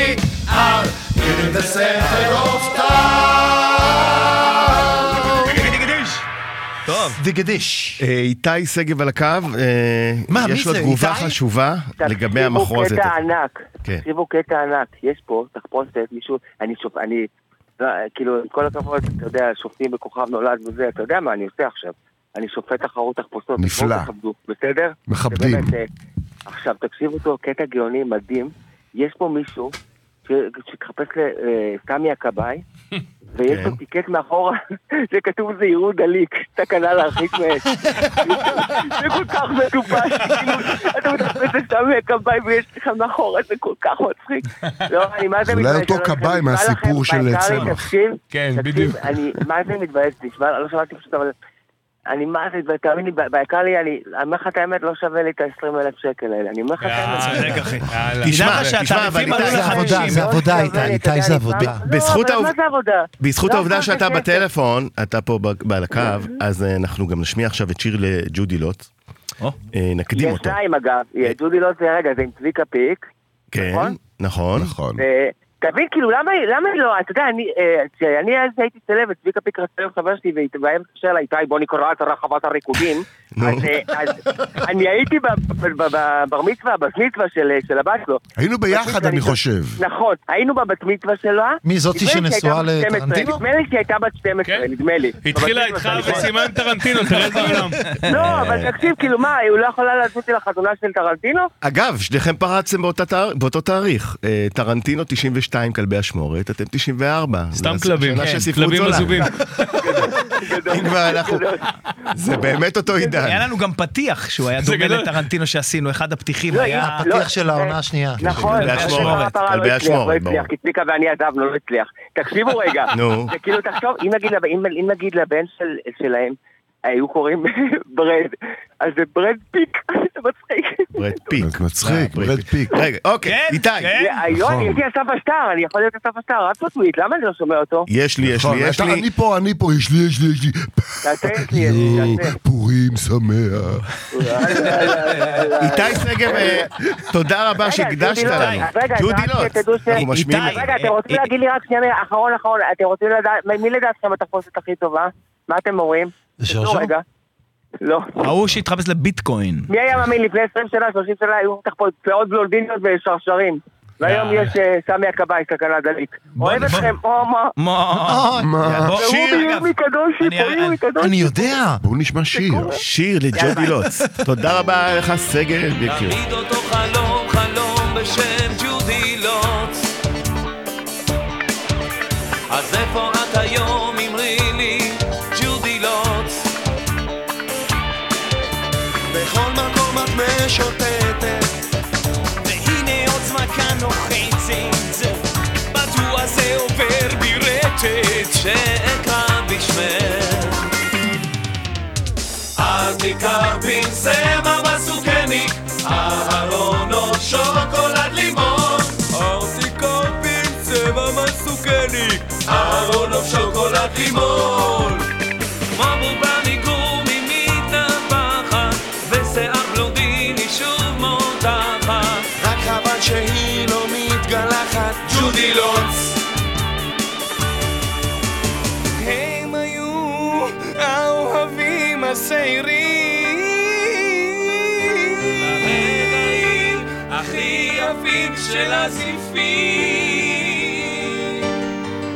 Speaker 8: are here in the center of town.
Speaker 4: דגדיש.
Speaker 2: אה, איתי שגב על הקו, אה,
Speaker 4: מה, מי
Speaker 2: יש לו
Speaker 4: זה,
Speaker 2: תגובה
Speaker 4: איתי?
Speaker 2: חשובה לגבי המחרוזת.
Speaker 10: תקשיבו קטע ענק,
Speaker 2: כן.
Speaker 10: תקשיבו קטע ענק, יש פה תחפושת, מישהו, אני שופט, אני, לא, כאילו, עם כל הכבוד, אתה יודע, שופטים בכוכב נולד וזה, אתה יודע מה אני עושה עכשיו? אני שופט תחרות תחפושות.
Speaker 3: נפלא.
Speaker 10: אז בואו תכבדו, בסדר?
Speaker 3: מכבדים.
Speaker 10: זה באמת, אה, עכשיו, תקשיבו טוב, קטע גאוני מדהים. יש פה מישהו ש- שהתחפש לסמי הכבאי, ויש לו טיקט מאחורה, זה כתוב זהירות דליק, תקנה להרחיק מאש. זה כל כך מטופש, כאילו, אתה מתחפש לסמי הכבאי ויש לך מאחורה, זה כל כך מצחיק. לא, אני מה זה
Speaker 3: זה
Speaker 10: מתבייש.
Speaker 3: אולי אותו
Speaker 10: אני
Speaker 3: כבאי
Speaker 10: נשבע לכם,
Speaker 3: מהסיפור של
Speaker 10: בעיקר לי,
Speaker 3: צמח.
Speaker 10: תקשיב,
Speaker 5: כן,
Speaker 10: תקשיב,
Speaker 5: בדיוק.
Speaker 10: אני מה זה מתבייש, נשבע, לא שמעתי פשוט, אבל... אני מה זה, מתבייש, תאמין לי, ב- בעיקר לי, אני אני אומר לך את האמת, לא שווה לי את ה-20 אלף שקל האלה, אני אומר לך את האמת.
Speaker 2: אה.
Speaker 6: צודק, אחי.
Speaker 5: יאללה.
Speaker 6: תשמע,
Speaker 2: תשמע,
Speaker 6: שהתעריפים
Speaker 2: אבל
Speaker 6: עלו
Speaker 4: זה עבודה,
Speaker 6: לחמישים.
Speaker 4: זה עבודה,
Speaker 10: לא שווה
Speaker 4: איתי,
Speaker 10: לי,
Speaker 4: איתי
Speaker 10: אתה
Speaker 4: זה
Speaker 10: יודע, לפעמים-
Speaker 4: עבודה.
Speaker 2: בזכות
Speaker 10: לא, אבל מה
Speaker 2: העובדה-
Speaker 10: זה עבודה?
Speaker 2: בזכות
Speaker 10: לא, כן.
Speaker 2: העובדה
Speaker 10: מה זה
Speaker 2: שאתה
Speaker 10: כסף?
Speaker 2: בטלפון, אתה פה ב- על הקו, אז אה, אנחנו גם נשמיע עכשיו את שיר לג'ודי לוט.
Speaker 6: או.
Speaker 2: אה, נקדים
Speaker 10: יש
Speaker 2: אותו.
Speaker 10: שניים אגב, ג'ודי לא זה רגע, זה עם צביקה פיק.
Speaker 2: כן,
Speaker 10: נכון?
Speaker 2: נכון.
Speaker 3: נכון.
Speaker 10: ו- תבין, כאילו, למה למה היא לא, אתה יודע, אני, אה, כשאני אז הייתי צלבת, צביקה פיק רצה להיות חבר שלי, והיא- והיה מתקשר אליי, איתי, בוא נקרא את רחבת הריקודים.
Speaker 2: נו.
Speaker 10: אז, אה, אז אני הייתי ב- ב- ב- בבר מצווה, בבת מצווה של אה, של הבת שלו.
Speaker 3: היינו ביחד, אני חושב.
Speaker 10: נכון, היינו בבת מצווה שלה.
Speaker 4: מי, זאת
Speaker 10: נדמה לי שהייתה
Speaker 4: שנשואה
Speaker 10: בת 12,
Speaker 4: לטרנטינו?
Speaker 10: נדמה לי שהיא הייתה בת 12,
Speaker 5: כן.
Speaker 10: נדמה לי.
Speaker 5: התחילה
Speaker 10: בבת
Speaker 5: איתך
Speaker 10: מצווה, נכון.
Speaker 5: בסימן טרנטינו, תראה את העולם.
Speaker 10: לא, אבל תקשיב, כאילו מה, הוא לא יכולה לעשות אותי לחתונה של טרנטינו?
Speaker 2: אגב, שניכם פרצתם באותה תאר- באותו תאריך. אה, טרנטינו 92, כלבי אשמורת, אתם 94.
Speaker 5: סתם
Speaker 2: זו
Speaker 5: כלבים,
Speaker 2: שאלה של
Speaker 5: כן,
Speaker 2: ספרות
Speaker 5: כלבים
Speaker 2: זולה.
Speaker 5: עזובים.
Speaker 2: אם כבר אנחנו... זה באמת אותו
Speaker 6: היה
Speaker 2: עידן.
Speaker 6: לנו גם פתיח שהוא היה
Speaker 5: זה
Speaker 6: דומה
Speaker 5: גדול.
Speaker 6: לטרנטינו שעשינו, אחד הפתיחים
Speaker 10: לא,
Speaker 6: היה...
Speaker 10: לא,
Speaker 4: הפתיח של העונה
Speaker 10: אה,
Speaker 4: השנייה.
Speaker 10: נכון,
Speaker 2: כלבי
Speaker 10: אבל
Speaker 2: אשמורת,
Speaker 10: שחר הפרה לא
Speaker 2: כלבי
Speaker 10: הצליח, לא
Speaker 2: אשמורת,
Speaker 10: הצליח,
Speaker 2: ברור.
Speaker 10: כי צביקה ואני עזבנו, לא הצליח. תקשיבו רגע,
Speaker 2: נו.
Speaker 10: זה כאילו תחשוב, אם נגיד לב- אם- אם נגיד לבן של- שלהם היו קוראים ברד, אז זה ברד פיק, זה מצחיק.
Speaker 2: ברד פיק.
Speaker 3: אז מצחיק,
Speaker 2: אה,
Speaker 3: ברד פיק.
Speaker 2: רגע, אוקיי,
Speaker 6: כן,
Speaker 2: איתי.
Speaker 6: כן.
Speaker 10: היום אני הייתי אסף השטר, אני יכול להיות אסף השטר, רק פוטוויט, למה אני לא שומע אותו?
Speaker 2: יש לי, יש
Speaker 3: נכון,
Speaker 2: לי, יש
Speaker 3: אתה-
Speaker 2: לי.
Speaker 3: אני פה, אני פה, יש לי, יש לי, יש לי.
Speaker 10: תעשה את לי, תעשה.
Speaker 3: פורים שמח.
Speaker 2: איתי שגב, אה, תודה רבה שהקדשת
Speaker 10: ג'ודי לוט,
Speaker 2: לנו.
Speaker 10: רגע,
Speaker 2: ג'ודי
Speaker 10: רק
Speaker 2: לוט.
Speaker 10: שתדעו ש-
Speaker 2: אנחנו משמיעים את
Speaker 6: איתי.
Speaker 2: זה.
Speaker 10: רגע, אתם רוצים להגיד לי רק שנייה, אחרון אחרון, אתם רוצים לדעת, מי לדעתכם התחפושת הכי טובה? מה אתם אומרים?
Speaker 4: שרשור?
Speaker 10: תנו רגע. לא.
Speaker 6: ההוא שהתחפש לביטקוין.
Speaker 10: מי היה מאמין לפני 20 שנה, 30 שנה, היו תחפושות בלונדיניות ושרשרים. והיום יש אה, סמי הכבאי, סכנה דלית.
Speaker 6: בוא,
Speaker 10: אוהב
Speaker 6: בוא.
Speaker 10: אתכם, הומו.
Speaker 6: מה? בוא,
Speaker 10: והוא
Speaker 6: שיר, אגב.
Speaker 10: ביומי קדושי,
Speaker 6: אני-
Speaker 10: פה יומי קדושי.
Speaker 4: אני יודע.
Speaker 3: בואו נשמע שיר.
Speaker 2: שיר לג'ודי לוט. תודה רבה לך, סגל, יקיר.
Speaker 7: תמיד אותו חלום, חלום בשם ג'ודי לוץ. אז איפה את היום, אמרי לי, ג'ודי לוץ?
Speaker 8: בכל מקום את משוטטת,
Speaker 7: והנה עוצמקה נוחצת, מדוע זה עובר ברטט? שאקרא בשמך.
Speaker 5: אה,
Speaker 7: אז ניקח פינצמה בסוכניק, אהרונות שוקולד לימון. אז ניקח פינצמה בסוכניק, אהרונות שוקולד לימון. כמו בובה מגומי מתנפחת, ושיער בלונדיני שוב מותחת.
Speaker 8: רק חבל שהיא לא מתגלחת.
Speaker 7: ג'ודי לוץ. הם היו האוהבים השעירים. ברגעים הכי יפים של הזיפים.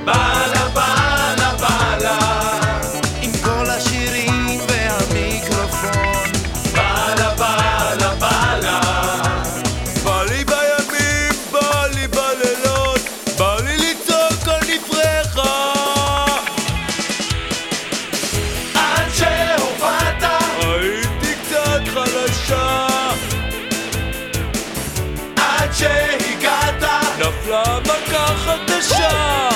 Speaker 7: בלה בלה בלה.
Speaker 8: עם כל השירים והמיקרופון.
Speaker 7: בלה בלה בלה.
Speaker 8: בא לי בימים, בא לי בלילות, בא לי לצעוק על דבריך. עד שהופעת, הייתי קצת חלשה. עד שהגעת, נפלה מכה חדשה.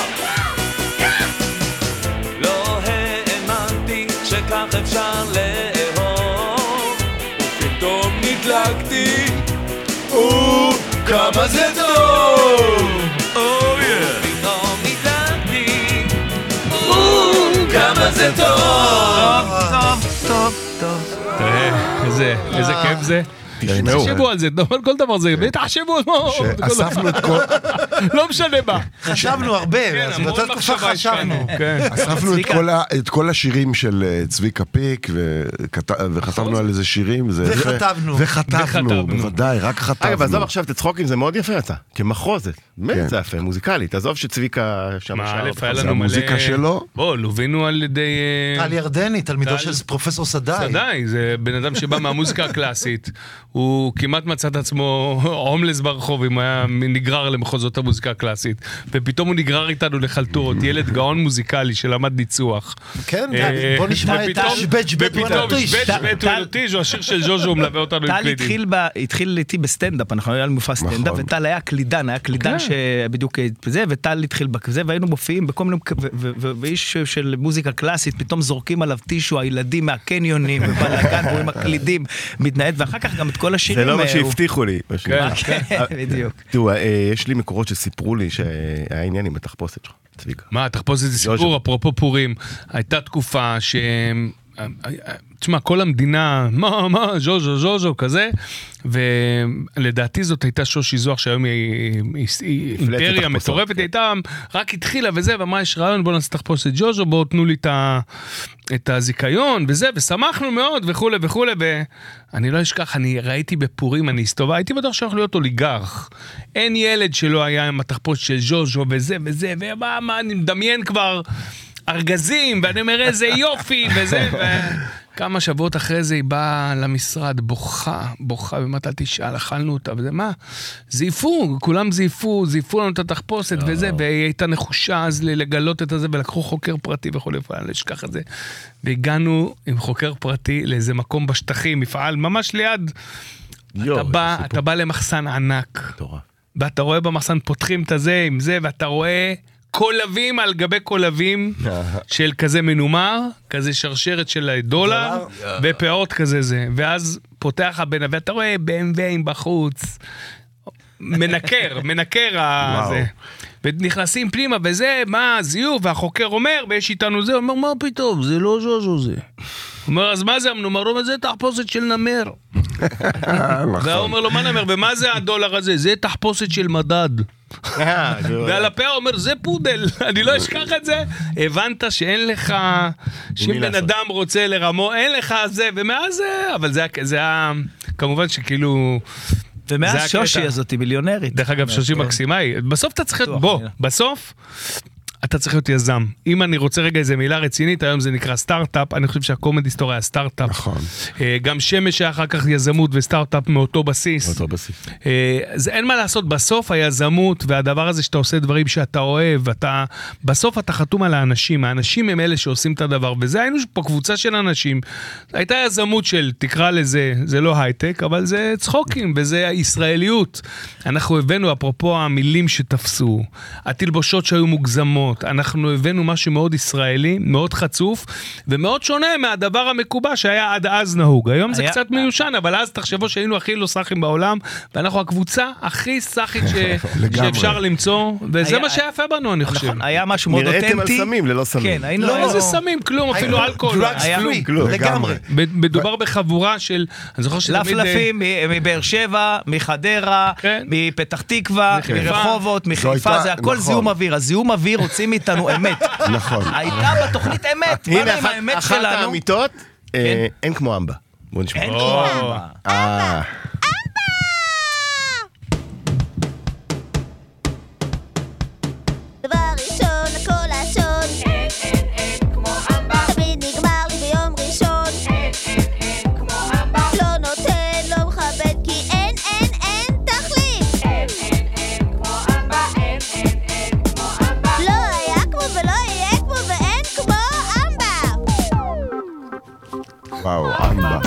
Speaker 7: לא האמנתי שכך אפשר לאהוב.
Speaker 8: פתאום נדלקתי, או, כמה זה טוב!
Speaker 7: פתאום נדלקתי. כמה זה טוב!
Speaker 5: תראה, אה, איזה איזה
Speaker 8: אה.
Speaker 5: כיף זה. תחשבו על זה, אבל כל דבר זה,
Speaker 4: כן.
Speaker 5: תחשבו, לא,
Speaker 3: שאספנו את כל...
Speaker 5: לא משנה מה.
Speaker 4: חשבנו הרבה, כן, אז
Speaker 5: כן,
Speaker 6: כן,
Speaker 5: המון
Speaker 4: באותה תקופה
Speaker 5: מחשבה
Speaker 4: חשבנו.
Speaker 5: השקענו, כן.
Speaker 3: אספנו את כל ה- את כל השירים של אה, צביקה פיק, וכת- וכתבנו על איזה שירים, זה יפה.
Speaker 4: וכתבנו.
Speaker 3: וחתכנו,
Speaker 5: וחתכנו.
Speaker 3: בוודאי, רק חתכנו.
Speaker 2: אגב, עזוב עכשיו את הצחוקים, זה מאוד יפה אתה. כמחרוזת. באמת
Speaker 3: כן.
Speaker 2: זה יפה, מוזיקלית. עזוב שצביקה שם
Speaker 5: מה,
Speaker 2: שר.
Speaker 5: א', היה
Speaker 2: זה
Speaker 5: לנו מלא...
Speaker 3: המוזיקה שלו?
Speaker 5: בוא, לווינו על ידי... אה,
Speaker 4: טל ירדני, תלמידו
Speaker 5: טל-
Speaker 4: של פרופסור סדאי.
Speaker 5: סדאי, זה בן אדם שבא מהמוזיקה הקלאסית, הוא כמעט מצא את עצמו הומלס ברחוב אם היה נגרר למחוזות המוזיקה הקלאסית. ופתאום הוא נגרר איתנו לחלטורות, ילד גאון מוזיקלי שלמד ניצוח.
Speaker 4: כן,
Speaker 5: אה,
Speaker 4: בוא נשמע את
Speaker 5: ופתאום-
Speaker 4: השבג'בט
Speaker 5: ופתאום שבג'בט וולטוטיז' הוא השיר של ז'וז'ו, מלווה אותנו עם
Speaker 6: טל
Speaker 5: קלידים.
Speaker 6: התחיל, ב, התחיל איתי בסטנדאפ, אנחנו היה לנו מופע סטנדאפ,
Speaker 5: נכון.
Speaker 6: וטל היה קלידן, היה
Speaker 2: כן.
Speaker 6: קלידן שבדיוק אה, זה, וטל התחיל בזה, והיינו מופיעים בכל מיני, ו- ו- ו- ואיש של מוזיקה קלאסית, פתאום זורקים עליו טישו, הילדים מהקניונים, ובלאגן, והוא עם הקלידים, מתנהג, ואחר כך גם את כל השירים
Speaker 2: זה לא מה
Speaker 6: האלו.
Speaker 2: שהבטיחו לי. מה שנקרא.
Speaker 6: כן, בדיוק.
Speaker 2: תראו, אה, יש לי מקורות שסיפרו לי שהיה עניין עם התחפושת שלך, צביקה.
Speaker 5: מה, תחפושת זה סיפור, אפרופו פורים, הייתה תקופה ש... תשמע, כל המדינה, מה, מה, ז'וז'ו, ז'וז'ו, כזה, ולדעתי זאת הייתה שושי זוהר, שהיום היא- היא היא
Speaker 2: הפלטת
Speaker 5: אימפריה
Speaker 2: תחפושות,
Speaker 5: מטורפת, היא הייתה, רק התחילה וזה, ואמרה, יש רעיון, בואו נעשה תחפושת ז'וז'ו, בואו תנו לי את ה- את הזיכיון, וזה, ושמחנו מאוד, וכולי וכולי, ואני לא אשכח, אני ראיתי בפורים, אני הסתובב, הייתי בטוח שהולך להיות אוליגרך. אין ילד שלא היה עם התחפושת של ז'וז'ו, וזה וזה, ומה, מה, אני מדמיין כבר. ארגזים, ואני אומר איזה יופי, וזה, ו... כמה שבועות אחרי זה היא באה למשרד בוכה, בוכה, ומתי תשאל, אכלנו אותה, וזה מה? זייפו, כולם זייפו, זייפו לנו את התחפושת וזה, והיא הייתה נחושה אז ל- לגלות את הזה, ולקחו חוקר פרטי וכולי, ואני לא אשכח את זה. והגענו עם חוקר פרטי לאיזה מקום בשטחים, מפעל ממש ליד. אתה בא, אתה בא למחסן ענק. ואתה רואה במחסן פותחים את הזה עם זה, ואתה רואה קולבים על גבי קולבים של כזה מנומר, כזה שרשרת של דולר, ופאות כזה זה. ואז פותח הבן, ואתה רואה BMWים בחוץ. מנקר, מנקר ה-
Speaker 3: וואו.
Speaker 5: זה. ונכנסים פנימה, וזה, מה, זיוף, והחוקר אומר, ויש איתנו זה, אומר, מה פתאום, זה לא ז'וז'ו זה. הוא אומר, אז מה זה המנומר? הוא אומר, זה תחפושת של נמר. והוא אומר לו, מה נאמר, ומה זה הדולר הזה? זה תחפושת של מדד.
Speaker 6: אה, לא-
Speaker 5: ועל הפה הוא אומר, זה פודל, אני לא אשכח את זה. הבנת שאין לך, שאם בן
Speaker 2: לעשות.
Speaker 5: אדם רוצה לרמו, אין לך זה, ומאז, אה, אבל זה היה- זה היה, כמובן שכאילו... זה
Speaker 6: ומאז
Speaker 5: הקטע.
Speaker 6: שושי הזאת היא מיליונרית. כן.
Speaker 5: דרך אגב, שושי מקסימה היא, בסוף אתה צריך להיות, בוא, בסוף אתה צריך להיות יזם. אם אני רוצה רגע איזה מילה רצינית, היום זה נקרא סטארט-אפ, אני חושב שהקומדי סטור היה סטארט-אפ. נכון. גם שמש היה אחר כך יזמות וסטארט-אפ מאותו בסיס.
Speaker 2: אותו בסיס.
Speaker 5: אה, זה אין מה לעשות, בסוף היזמות והדבר הזה שאתה עושה דברים שאתה אוהב, אתה, בסוף אתה חתום על האנשים, האנשים הם אלה שעושים את הדבר, וזה היינו פה קבוצה של אנשים, הייתה יזמות של, תקרא לזה, זה לא הייטק, אבל זה צחוקים, וזה הישראליות. אנחנו הבאנו, אפרופו המילים שתפסו, התלבושות שהיו מוגזמות, אנחנו הבאנו משהו מאוד ישראלי, מאוד חצוף, ומאוד שונה מהדבר המקובע שהיה עד אז נהוג. היום זה
Speaker 6: היה-
Speaker 5: קצת מיושן, אבל אז תחשבו שהיינו הכי לא סאחים בעולם, ואנחנו הקבוצה הכי סאחית ש-
Speaker 3: לגמרי.
Speaker 5: שאפשר למצוא, וזה
Speaker 6: היה-
Speaker 5: מה שהיה יפה בנו, אני חושב.
Speaker 6: נכון, היה משהו מאוד אותנטי.
Speaker 2: נראיתם על סמים ללא סמים.
Speaker 6: כן, היינו...
Speaker 5: לא,
Speaker 6: היינו-
Speaker 5: איזה סמים, כלום, אפילו
Speaker 6: היינו
Speaker 5: אלכוהול.
Speaker 6: drugs
Speaker 5: היה-
Speaker 6: free,
Speaker 2: כלום.
Speaker 6: לגמרי.
Speaker 5: ב- מדובר בחבורה של, אני זוכר שתמיד...
Speaker 6: לפלפים מ- מבאר שבע, מחדרה,
Speaker 5: אה, כן.
Speaker 6: מפתח תקווה,
Speaker 5: מחיפה.
Speaker 6: מרחובות,
Speaker 4: לא
Speaker 6: מחיפה,
Speaker 3: הייתה-
Speaker 6: זה הכל
Speaker 3: נכון.
Speaker 6: זיהום אוויר. הזיהום אוויר הוציא מאיתנו אמת.
Speaker 3: נכון.
Speaker 6: הייתה בתוכנית אמת,
Speaker 2: הנה
Speaker 6: באנו עם
Speaker 2: אחת-
Speaker 6: האמת
Speaker 2: אחת
Speaker 6: שלנו. כן.
Speaker 2: האמיתות, אה, אין כמו אמבה. בוא נשמע.
Speaker 6: אין
Speaker 5: אה,
Speaker 6: כלום.
Speaker 5: או,
Speaker 2: אה,
Speaker 11: דבר ראשון, הכל לשון. אין, אין, אין כמו אמבה. תמיד נגמר לי ביום ראשון. אין, אין, אין כמו אמבה. לא נותן, לא מכבד, כי אין, אין, אין תחליף. אין, אין, אין כמו אמבה. אין, אין, אין כמו אמבה. לא היה כמו ולא יהיה כמו ואין כמו אמבה.
Speaker 3: וואו, אמבה.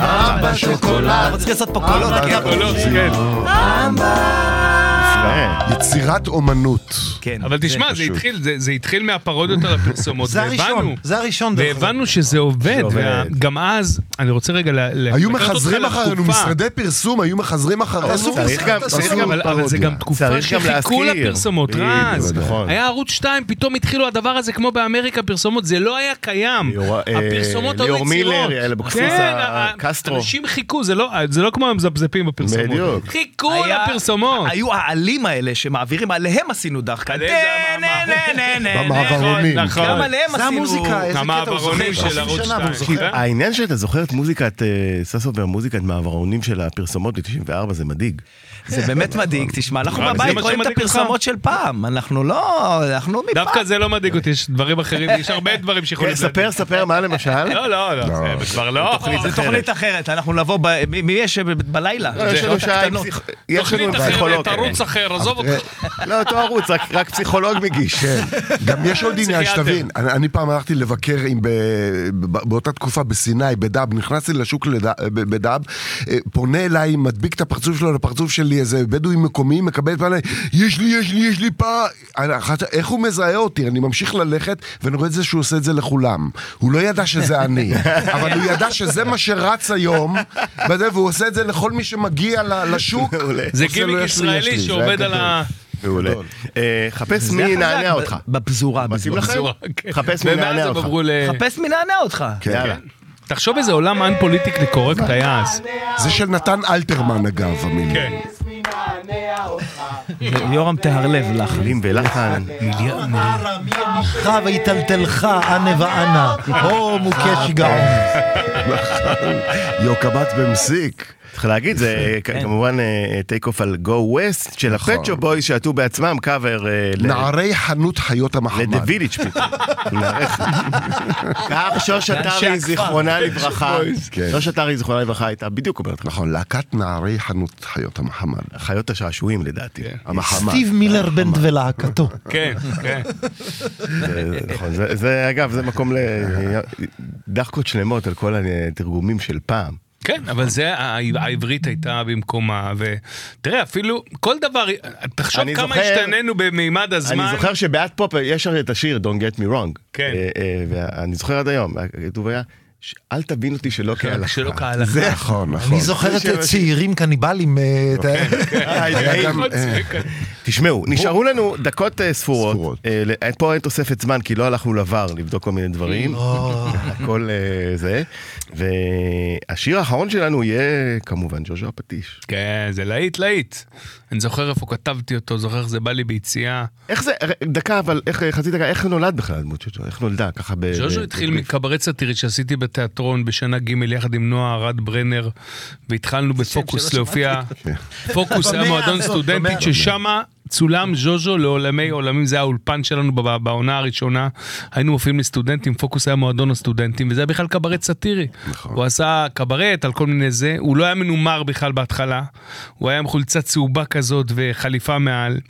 Speaker 6: אבא שוקולד. אנחנו צריכים לעשות פה קולות. כן.
Speaker 5: קולות, כן.
Speaker 2: יפה.
Speaker 3: יצירת אומנות.
Speaker 6: כן.
Speaker 5: אבל תשמע, זה
Speaker 3: פשוט.
Speaker 5: התחיל, זה- זה התחיל מהפרודיות על הפרסומות,
Speaker 4: זה
Speaker 5: והבנו.
Speaker 4: הראשון, זה הראשון. דרך אגב.
Speaker 5: והבנו שזה עובד,
Speaker 2: עובד.
Speaker 5: וגם אז, אני רוצה רגע ל... ל-
Speaker 3: היו
Speaker 5: לקחת אותך
Speaker 3: מחזרים אחרינו,
Speaker 5: לתקופה.
Speaker 3: משרדי פרסום היו מחזרים אחרינו.
Speaker 2: צריך גם-
Speaker 5: צריך
Speaker 2: עשו
Speaker 5: גם, אבל- אבל זה
Speaker 2: לא פרודיה.
Speaker 5: גם תקופה
Speaker 2: צריך גם
Speaker 5: שחיכו
Speaker 2: להזכיר.
Speaker 5: לפרסומות,
Speaker 2: בדיוק,
Speaker 5: רז.
Speaker 2: נכון.
Speaker 5: היה ערוץ 2, פתאום התחילו הדבר הזה, כמו באמריקה, פרסומות, זה לא היה קיים.
Speaker 2: ליאור- אה,
Speaker 5: הפרסומות היו
Speaker 2: ליאור מילר,
Speaker 5: יצירות.
Speaker 2: יעל אבקסיס,
Speaker 5: כן,
Speaker 2: ה-
Speaker 5: ה-
Speaker 2: קסטרו.
Speaker 5: אנשים חיכו, זה לא- זה לא כמו המזפזפים בפרסומות.
Speaker 2: בדיוק.
Speaker 5: חיכו
Speaker 6: היה-
Speaker 5: לפרסומות.
Speaker 6: היו העלים האלה שמעבירים, עליהם עשינו דחקה.
Speaker 5: עליהם זה המאמר.
Speaker 3: במעברונים.
Speaker 5: נכון.
Speaker 6: גם עליהם
Speaker 4: זה
Speaker 6: עשינו...
Speaker 4: המוזיקה, איזה קטע הוא זוכר.
Speaker 5: המעברונים של ערוץ אה? 2.
Speaker 2: העניין שאתה זוכר את מוזיקת, אה, סוף סוף והמוזיקת מעברונים של הפרסומות ב-94 זה מדאיג.
Speaker 6: זה באמת מדאיג, תשמע, אנחנו
Speaker 5: אבל זה
Speaker 6: בבית
Speaker 5: מה
Speaker 6: רואים את
Speaker 5: שמדאיג אותך?
Speaker 6: הפרסמות של פעם, אנחנו לא, אנחנו מפעם.
Speaker 5: דווקא זה לא מדאיג אותי, יש דברים אחרים, יש הרבה דברים שיכולים...
Speaker 6: כן, ספר,
Speaker 2: ספר, מה למשל?
Speaker 5: לא, לא, לא, זה כבר לא.
Speaker 6: זה תוכנית אחרת, אנחנו נבוא, ב- מי מי יש ב- בלילה?
Speaker 2: לא, יש
Speaker 6: זה
Speaker 2: לנו
Speaker 6: שעות
Speaker 2: שעה עם
Speaker 6: הקטנות.
Speaker 2: פסיכ- יש לנו עם פסיכולוג. לא, אותו ערוץ, רק- רק פסיכולוג מגיש.
Speaker 3: כן. גם יש עוד עניין שתבין, אני, אני פעם הלכתי לבקר עם ב, ב, באותה תקופה בסיני, בדאב, נכנסתי לשוק לד, ב- בדאב, אה, פונה אליי, מדביק את הפרצוף שלו לפרצוף שלי, איזה בדואי מקומי, מקבל פעם, יש לי, יש לי, יש לי פעם, אני- אחת- איך הוא מזהה אותי? אני ממשיך ללכת, ואני רואה את זה שהוא עושה את זה לכולם. הוא לא ידע שזה אני, אבל הוא ידע שזה מה שרץ היום, וזה, והוא עושה את זה לכל מי שמגיע ל- לשוק.
Speaker 5: זה
Speaker 3: עושה לו,
Speaker 5: גימיק
Speaker 3: "יש לי, יש לי",
Speaker 5: ישראלי
Speaker 3: זה היה
Speaker 5: שעובד על
Speaker 3: גדול.
Speaker 5: ה...
Speaker 2: מעולה. אה, חפש
Speaker 6: זה כן,
Speaker 2: מי
Speaker 6: היה חזק
Speaker 2: ינענע
Speaker 6: ב-
Speaker 2: אותך.
Speaker 6: בפזורה, אה.
Speaker 2: מתאים לכם?
Speaker 5: בפזורה,
Speaker 3: אוקיי.
Speaker 5: כן.
Speaker 2: חפש מי
Speaker 5: ומאז
Speaker 2: ינענע
Speaker 5: הם
Speaker 2: אותך.
Speaker 5: עברו ל-
Speaker 6: חפש מי נענע אותך.
Speaker 2: יאללה.
Speaker 5: תחשוב איזה עולם אן פוליטיקלי קורקט היה אז.
Speaker 3: זה של נתן אלתרמן אגב, המילים.
Speaker 5: כן.
Speaker 2: כן.
Speaker 6: יורם תהרלב לך.
Speaker 2: מילים ולחן.
Speaker 4: לך ויטלטלך, אנה ואנה,
Speaker 2: אה.
Speaker 4: או מוכה שיגעון.
Speaker 3: יוקבץ במסיק.
Speaker 2: צריך להגיד, זה
Speaker 6: כן.
Speaker 2: כ- כמובן אה, טייק אוף על גו ווסט של
Speaker 6: נכון.
Speaker 2: הפצ'ו בויז שעטו בעצמם קאבר אה, ל-
Speaker 3: נערי חנות חיות המחמד.
Speaker 2: לדה וילג' פתאום. כך שוש עטרי, זיכרונה לברכה.
Speaker 3: כן.
Speaker 2: שוש עטרי, זיכרונה לברכה, הייתה בדיוק אומרת לך.
Speaker 3: נכון, להקת נערי חנות חיות המחמד.
Speaker 2: חיות השעשועים לדעתי. אה,
Speaker 3: המחמד.
Speaker 4: סטיב מילר בנד ולהקתו.
Speaker 5: כן, כן.
Speaker 2: זה- נכון, זה- זה אגב, זה מקום לדחקות שלמות על כל התרגומים של פעם.
Speaker 5: כן, אבל זה, ה- העברית הייתה במקומה, ותראה, אפילו כל דבר, תחשוב
Speaker 2: אני
Speaker 5: כמה
Speaker 2: זוכר-
Speaker 5: השתננו במימד הזמן.
Speaker 2: אני זוכר שבעד פופ יש הרי את השיר Don't get me wrong.
Speaker 5: כן.
Speaker 2: אה, אה, ואני זוכר עד היום, הכתוב היה, ש- אל תבין אותי שלא כהלכה.
Speaker 5: כן, שלא
Speaker 2: כן.
Speaker 5: כהלכה.
Speaker 2: זה
Speaker 3: נכון, נכון.
Speaker 4: אני זוכר
Speaker 2: אוקיי.
Speaker 4: את צעירים קניבלים, אה, את ה-
Speaker 2: כן. היה גם- אה. תשמעו, נשארו לנו דקות אה, ספורות.
Speaker 3: ספורות.
Speaker 2: אה, ל- אה, פה אין תוספת זמן, כי לא הלכנו לבר לבדוק כל מיני דברים. הכל אה, זה. והשיר האחרון שלנו יהיה כמובן ג'וז'ו הפטיש.
Speaker 5: כן, זה להיט להיט. אני זוכר איפה כתבתי אותו, זוכר איך זה בא לי ביציאה.
Speaker 2: איך זה, ר- דקה אבל, איך, אה, חצי דקה, איך נולד בכלל הדמות של ג'וז'ו? איך נולדה? ככה ב...
Speaker 5: ז'וז'ו
Speaker 2: ב-
Speaker 5: התחיל
Speaker 2: ב-
Speaker 5: מקברט סאטירית שעשיתי בתיאטרון בשנה ג' יחד עם נועה ארד ברנר, והתחלנו בפוקוס להופיע.
Speaker 2: כן.
Speaker 5: פוקוס היה מועדון סטודנטית ששם צולם ז'וז'ו לעולמי עולמים, זה היה האולפן שלנו בב- בעונה הראשונה. היינו מופיעים לסטודנטים, פוקוס היה מועדון הסטודנטים, וזה היה בכלל קברט סאטירי.
Speaker 3: נכון.
Speaker 5: הוא עשה קברט על כל מיני זה, הוא לא היה מנומר בכלל בהתחלה. הוא היה עם חולצה צהובה כזאת וחליפה מעל,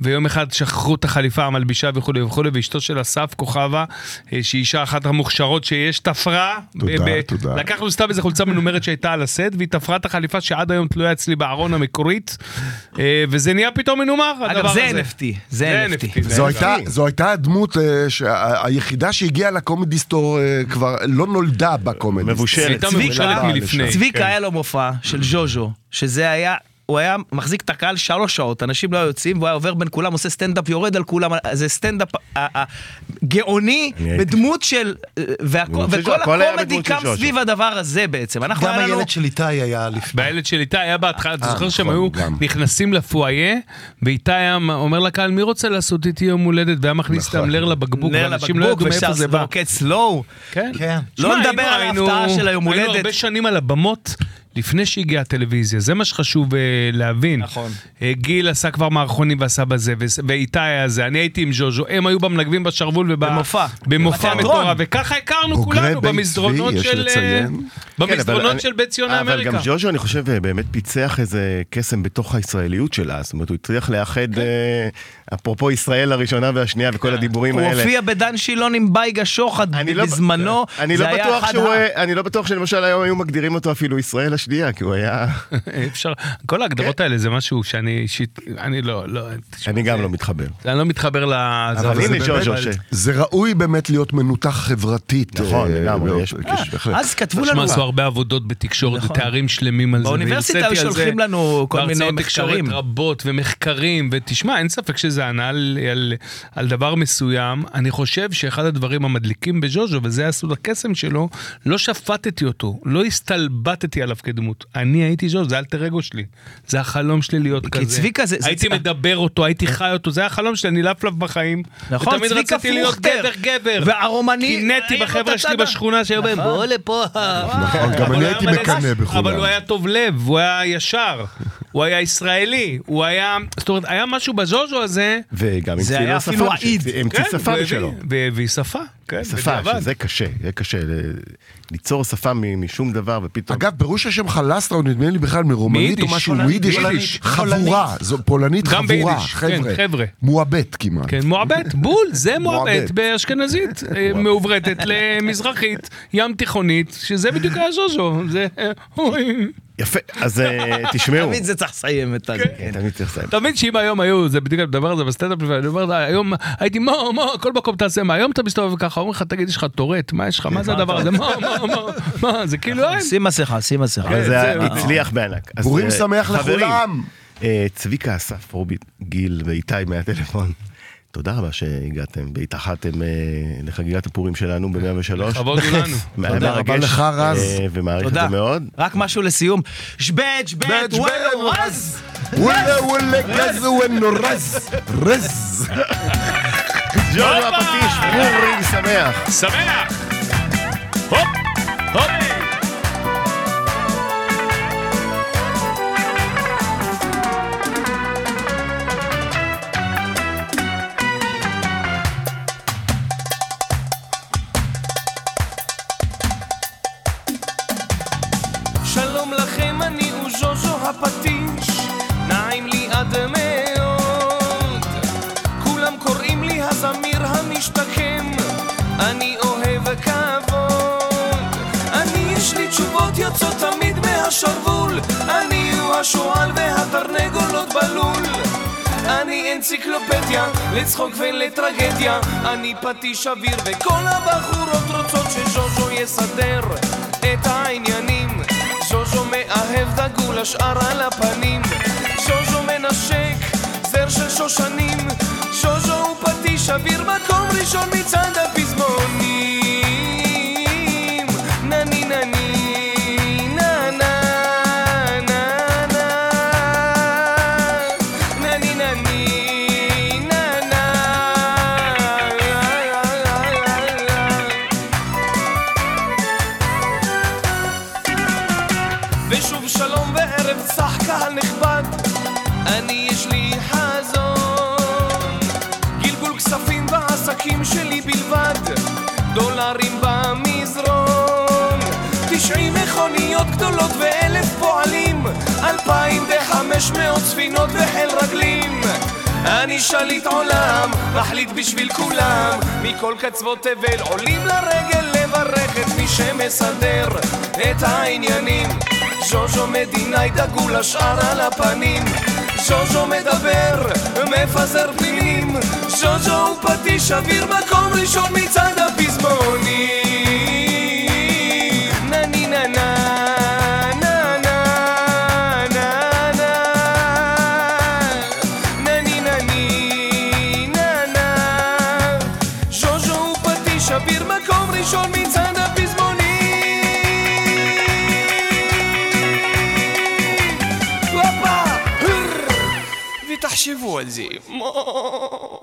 Speaker 5: ויום אחד שכחו את החליפה, המלבישה וכולי וכולי, ואשתו של אסף כוכבה, אה, שהיא אישה אחת המוכשרות שיש, תפרה.
Speaker 3: תודה, תודה.
Speaker 5: לקחנו סתם איזו חולצה מנומרת שהייתה על הסט, והיא תפרה את החליפה שעד היום תלויה אצלי בארון המקורית, אה, וזה נהיה פתאום מנומר, הדבר
Speaker 6: אגב,
Speaker 5: הזה.
Speaker 6: זה
Speaker 2: אוקיי.
Speaker 6: NFT, זה NFT.
Speaker 5: זה
Speaker 3: זו הייתה, זו הייתה הדמות אה, שה- היחידה שהגיעה לקומדיסטור אה, כבר לא נולדה בקומדיסטור.
Speaker 5: היא
Speaker 2: מבושלת.
Speaker 5: הייתה מבושלת מלפני.
Speaker 6: צביקה
Speaker 5: כן.
Speaker 6: היה לו מופע של ז'וז'ו, שזה היה... הוא היה מחזיק את הקהל שלוש שעות, אנשים לא היו יוצאים, והוא היה עובר בין כולם, עושה סטנדאפ, יורד על כולם, זה סטנדאפ אה, אה, גאוני,
Speaker 2: אני הייתי.
Speaker 6: בדמות של... אה, והכ-
Speaker 2: אני חושב
Speaker 6: וכל
Speaker 2: שהכל היה
Speaker 6: הקומדי
Speaker 2: בדמות
Speaker 6: קם
Speaker 2: של ז'וז'ו.
Speaker 6: סביב הדבר הזה בעצם. אנחנו,
Speaker 4: גם
Speaker 6: היה לנו...
Speaker 4: הילד של איתי היה לפני.
Speaker 5: והילד של איתי היה בהתחלה, אתה זוכר שהם
Speaker 3: נכון,
Speaker 5: היו
Speaker 3: גם.
Speaker 5: נכנסים לפואיה, ואיתי היה אומר לקהל, מי רוצה לעשות איתי יום הולדת? והיה מכניס
Speaker 3: נכון.
Speaker 5: את הנר לבקבוק,
Speaker 6: נר
Speaker 5: ואנשים לא
Speaker 6: לבקבוק אוקיי.
Speaker 5: ידעו מאיפה
Speaker 6: ושר
Speaker 5: זה בא.
Speaker 6: ברוקט סלואו.
Speaker 5: כן.
Speaker 4: כן.
Speaker 6: לא
Speaker 5: שמע,
Speaker 6: נדבר על
Speaker 5: היינו-
Speaker 6: ההפתעה של היום
Speaker 5: היינו הרבה
Speaker 6: הולדת.
Speaker 5: שנים על הבמות. לפני שהגיעה הטלוויזיה, זה מה שחשוב אה, להבין.
Speaker 6: נכון.
Speaker 5: אה, גיל עשה כבר מערכונים ועשה בזה, וס- ואיתי היה זה, אני הייתי עם ז'וז'ו, הם היו במנגבים בשרוול וב...
Speaker 6: במופע.
Speaker 5: במופע
Speaker 6: בתיאטרון.
Speaker 5: מטורף, וככה הכרנו
Speaker 3: בוגרי
Speaker 5: כולנו
Speaker 3: בית
Speaker 5: במסדרונות
Speaker 3: צבי, יש
Speaker 5: של... אה,
Speaker 3: לציין.
Speaker 2: כן, אבל
Speaker 5: במסדרונות
Speaker 2: אני-
Speaker 5: של בית ציון
Speaker 2: אבל
Speaker 5: האמריקה.
Speaker 2: גם ז'וז'ו, אני חושב, אה, באמת פיצח איזה קסם בתוך הישראליות שלה. זאת אומרת, הוא הצליח לאחד,
Speaker 5: כן.
Speaker 2: אה, אפרופו ישראל הראשונה והשנייה
Speaker 5: אה,
Speaker 2: וכל הדיבורים
Speaker 6: הוא
Speaker 2: האלה.
Speaker 6: הופיע בדן שילון עם בייגה שוחד
Speaker 2: אני לא-
Speaker 6: בזמנו.
Speaker 2: אני
Speaker 6: זה
Speaker 2: לא
Speaker 6: היה
Speaker 2: בטוח
Speaker 6: אחד
Speaker 2: שהוא,
Speaker 6: ה-
Speaker 2: אה, אני לא בטוח שלמשל היום היו מגדירים אותו אפילו ישראל השנייה, כי הוא היה...
Speaker 5: אי אפשר, כל ההגדרות האלה זה משהו שאני אישית, אני לא, לא, תשמע,
Speaker 2: כן. אני גם לא מתחבר.
Speaker 5: אני לא מתחבר ל... זה-
Speaker 2: אבל
Speaker 5: זה
Speaker 2: הנה
Speaker 5: באמת-
Speaker 2: ז'וז'ו, ש-
Speaker 3: זה ראוי באמת להיות מנותח חברתית.
Speaker 2: נכון,
Speaker 3: אה,
Speaker 2: לגמרי,
Speaker 3: מאוד-
Speaker 2: יש-
Speaker 3: יש- בהחלט.
Speaker 6: אז כתבו
Speaker 5: תשמע,
Speaker 6: לנו,
Speaker 5: עשו הרבה עבודות בתקשורת,
Speaker 6: נכון.
Speaker 5: תארים שלמים על זה.
Speaker 6: באוניברסיטה
Speaker 5: והרציתי
Speaker 6: היו
Speaker 5: על זה
Speaker 6: שולחים לנו כל מיני
Speaker 5: בהרצאות
Speaker 6: מחקרים.
Speaker 5: תקשורת רבות ומחקרים, ותשמע, אין ספק שזה ענה על, על, על דבר מסוים. אני חושב שאחד הדברים המדליקים בז'וז'ו, וזה היה סוד הקסם שלו, לא שפטתי אותו, לא הסתלבטתי עליו כדמות. אני הייתי ז'וז, זה אלטר אגו שלי. זה החלום שלי להיות
Speaker 6: כי
Speaker 5: כזה.
Speaker 6: צביקה זה- זה
Speaker 5: הייתי
Speaker 6: צ-
Speaker 5: מדבר אותו, הייתי חי אותו, זה החלום שלי, אני לפלף בחיים.
Speaker 6: נכון,
Speaker 5: ותמיד
Speaker 6: צביקה
Speaker 5: רציתי להיות
Speaker 6: פרוכטר.
Speaker 5: גבר גבר.
Speaker 6: והרומני-
Speaker 5: קינאתי
Speaker 6: ראינו את
Speaker 5: בחבר'ה שלי
Speaker 6: הצד ה-
Speaker 5: בשכונה שהיו בהם,
Speaker 6: נכון.
Speaker 5: בוא לפה.
Speaker 6: אה,
Speaker 3: נכון, גם
Speaker 5: אבל
Speaker 3: אני
Speaker 5: הוא
Speaker 3: הייתי
Speaker 5: היה מלא-
Speaker 3: מקנא בכולם.
Speaker 5: אבל הוא היה טוב לב, הוא היה ישר, הוא היה ישראלי, הוא היה... זאת אומרת, היה משהו בז'וז'ו הזה.
Speaker 2: וגם
Speaker 6: זה
Speaker 2: המציא
Speaker 6: היה
Speaker 2: לו
Speaker 6: אפילו
Speaker 2: שפם,
Speaker 6: העיד.
Speaker 2: שהמציא- המציא
Speaker 5: כן, הוא
Speaker 2: שפם
Speaker 5: הביא,
Speaker 2: שלו.
Speaker 5: והביא שפה, כן,
Speaker 2: שפה,
Speaker 5: בדיעבד.
Speaker 2: שזה קשה, זה קשה, ל- ליצור שפה מ- משום דבר ופתאום...
Speaker 3: אגב, פירוש השם חלסטרה הוא נדמה לי בכלל מרומנית או
Speaker 5: מיידיש,
Speaker 3: משהו,
Speaker 5: פולנית,
Speaker 3: יידיש,
Speaker 5: יידיש.
Speaker 3: חבורה, זו פולנית
Speaker 5: גם
Speaker 3: חבורה,
Speaker 5: ביידיש, כן,
Speaker 3: חבר'ה,
Speaker 5: חבר'ה.
Speaker 3: מועבט כמעט.
Speaker 5: כן, מועבט, בול, זה מועבט
Speaker 3: מועבט.
Speaker 5: באשכנזית, אה, מעוברתת למזרחית, ים תיכונית, שזה בדיוק היה ז'וז'ו, זה... אוי.
Speaker 2: יפה, אז אה, תשמעו.
Speaker 6: תמיד זה צריך לסיים את ה... כן.
Speaker 2: תמיד צריך לסיים.
Speaker 5: אתה מבין שאם היום היו, זה בדיוק הדבר הזה בסטנדאפ, ואני אומר, היום הייתי, מה, מה, כל מקום תעשה, מה, היום אתה מסתובב ככה, אומרים לך, תגיד, יש לך טורט, מה יש לך, מה זה הדבר הזה, מה, מה, מה, מה, זה כאילו
Speaker 3: נכון,
Speaker 5: אין.
Speaker 6: כן. שים מסכה, שים מסכה.
Speaker 2: אבל זה היה- הצליח בענק. אז,
Speaker 3: פורים
Speaker 2: אה,
Speaker 3: כן, שמח
Speaker 2: חברים,
Speaker 3: לכולם.
Speaker 2: אה, צביקה אסף, רובי גיל ואיתי מהטלפון. תודה רבה שהגעתם והתאחדתם אה, לחגיגת הפורים שלנו ב-103.
Speaker 5: לכבוד הוא לנו.
Speaker 3: תודה רבה לך, רז.
Speaker 2: אה, ומעריך את
Speaker 6: תודה.
Speaker 2: זה מאוד.
Speaker 6: רק משהו לסיום. שבט, שבט,
Speaker 3: בג'
Speaker 6: וואלו,
Speaker 3: בג'
Speaker 6: רז!
Speaker 3: וואלה וואלה גז ונורז, רז.
Speaker 2: ג'ון הפטיש, פורים שמח.
Speaker 5: שמח! הופ! הופ!
Speaker 7: שלום לכם, אני הוא ז'וז'ו הפטיש, נעים לי עד מאוד. כולם קוראים לי הזמיר המשתקם, אני אוהב כבוד. אני יש לי תשובות יוצאות תמיד מהשרוול, אני הוא השועל והתרנגולות בלול. אני אנציקלופדיה, לצחוק ולטרגדיה, אני פטיש אוויר וכל הבחורות רוצות שז'וז'ו יסדר את העניינים. ז'וז'ו מאהב דגול, השאר על הפנים. ז'וז'ו מנשק, זר של שושנים. ז'וז'ו הוא פטיש אוויר, מקום ראשון מצד הפזמונים. נה ני נה ני נה נה נה נה נה ני נה ני נה נה ושוב שלום וערב צח קהל נכבד אני יש לי חזון גלגול כספים בעסקים שלי בלבד דולרים במזרון תשעים מכוניות גדולות ואלף פועלים אלפיים וחמש מאות ספינות וחיל רגלים אני שליט עולם, מחליט בשביל כולם מכל קצוות תבל עולים לרגל לברך את מי שמסדר את העניינים ז'וז'ו מדינאי דגול, השאר על הפנים ז'וז'ו מדבר, מפזר פנינים ז'וז'ו הוא פטיש אוויר, מקום ראשון מצד הפזמונים נה ני נה נה נה נה נה נה נה ני נה ני נה נה ז'וז'ו הוא פטיש אביר מקום ראשון מצד הפזמונים הופה הר ותחשבו על זה מו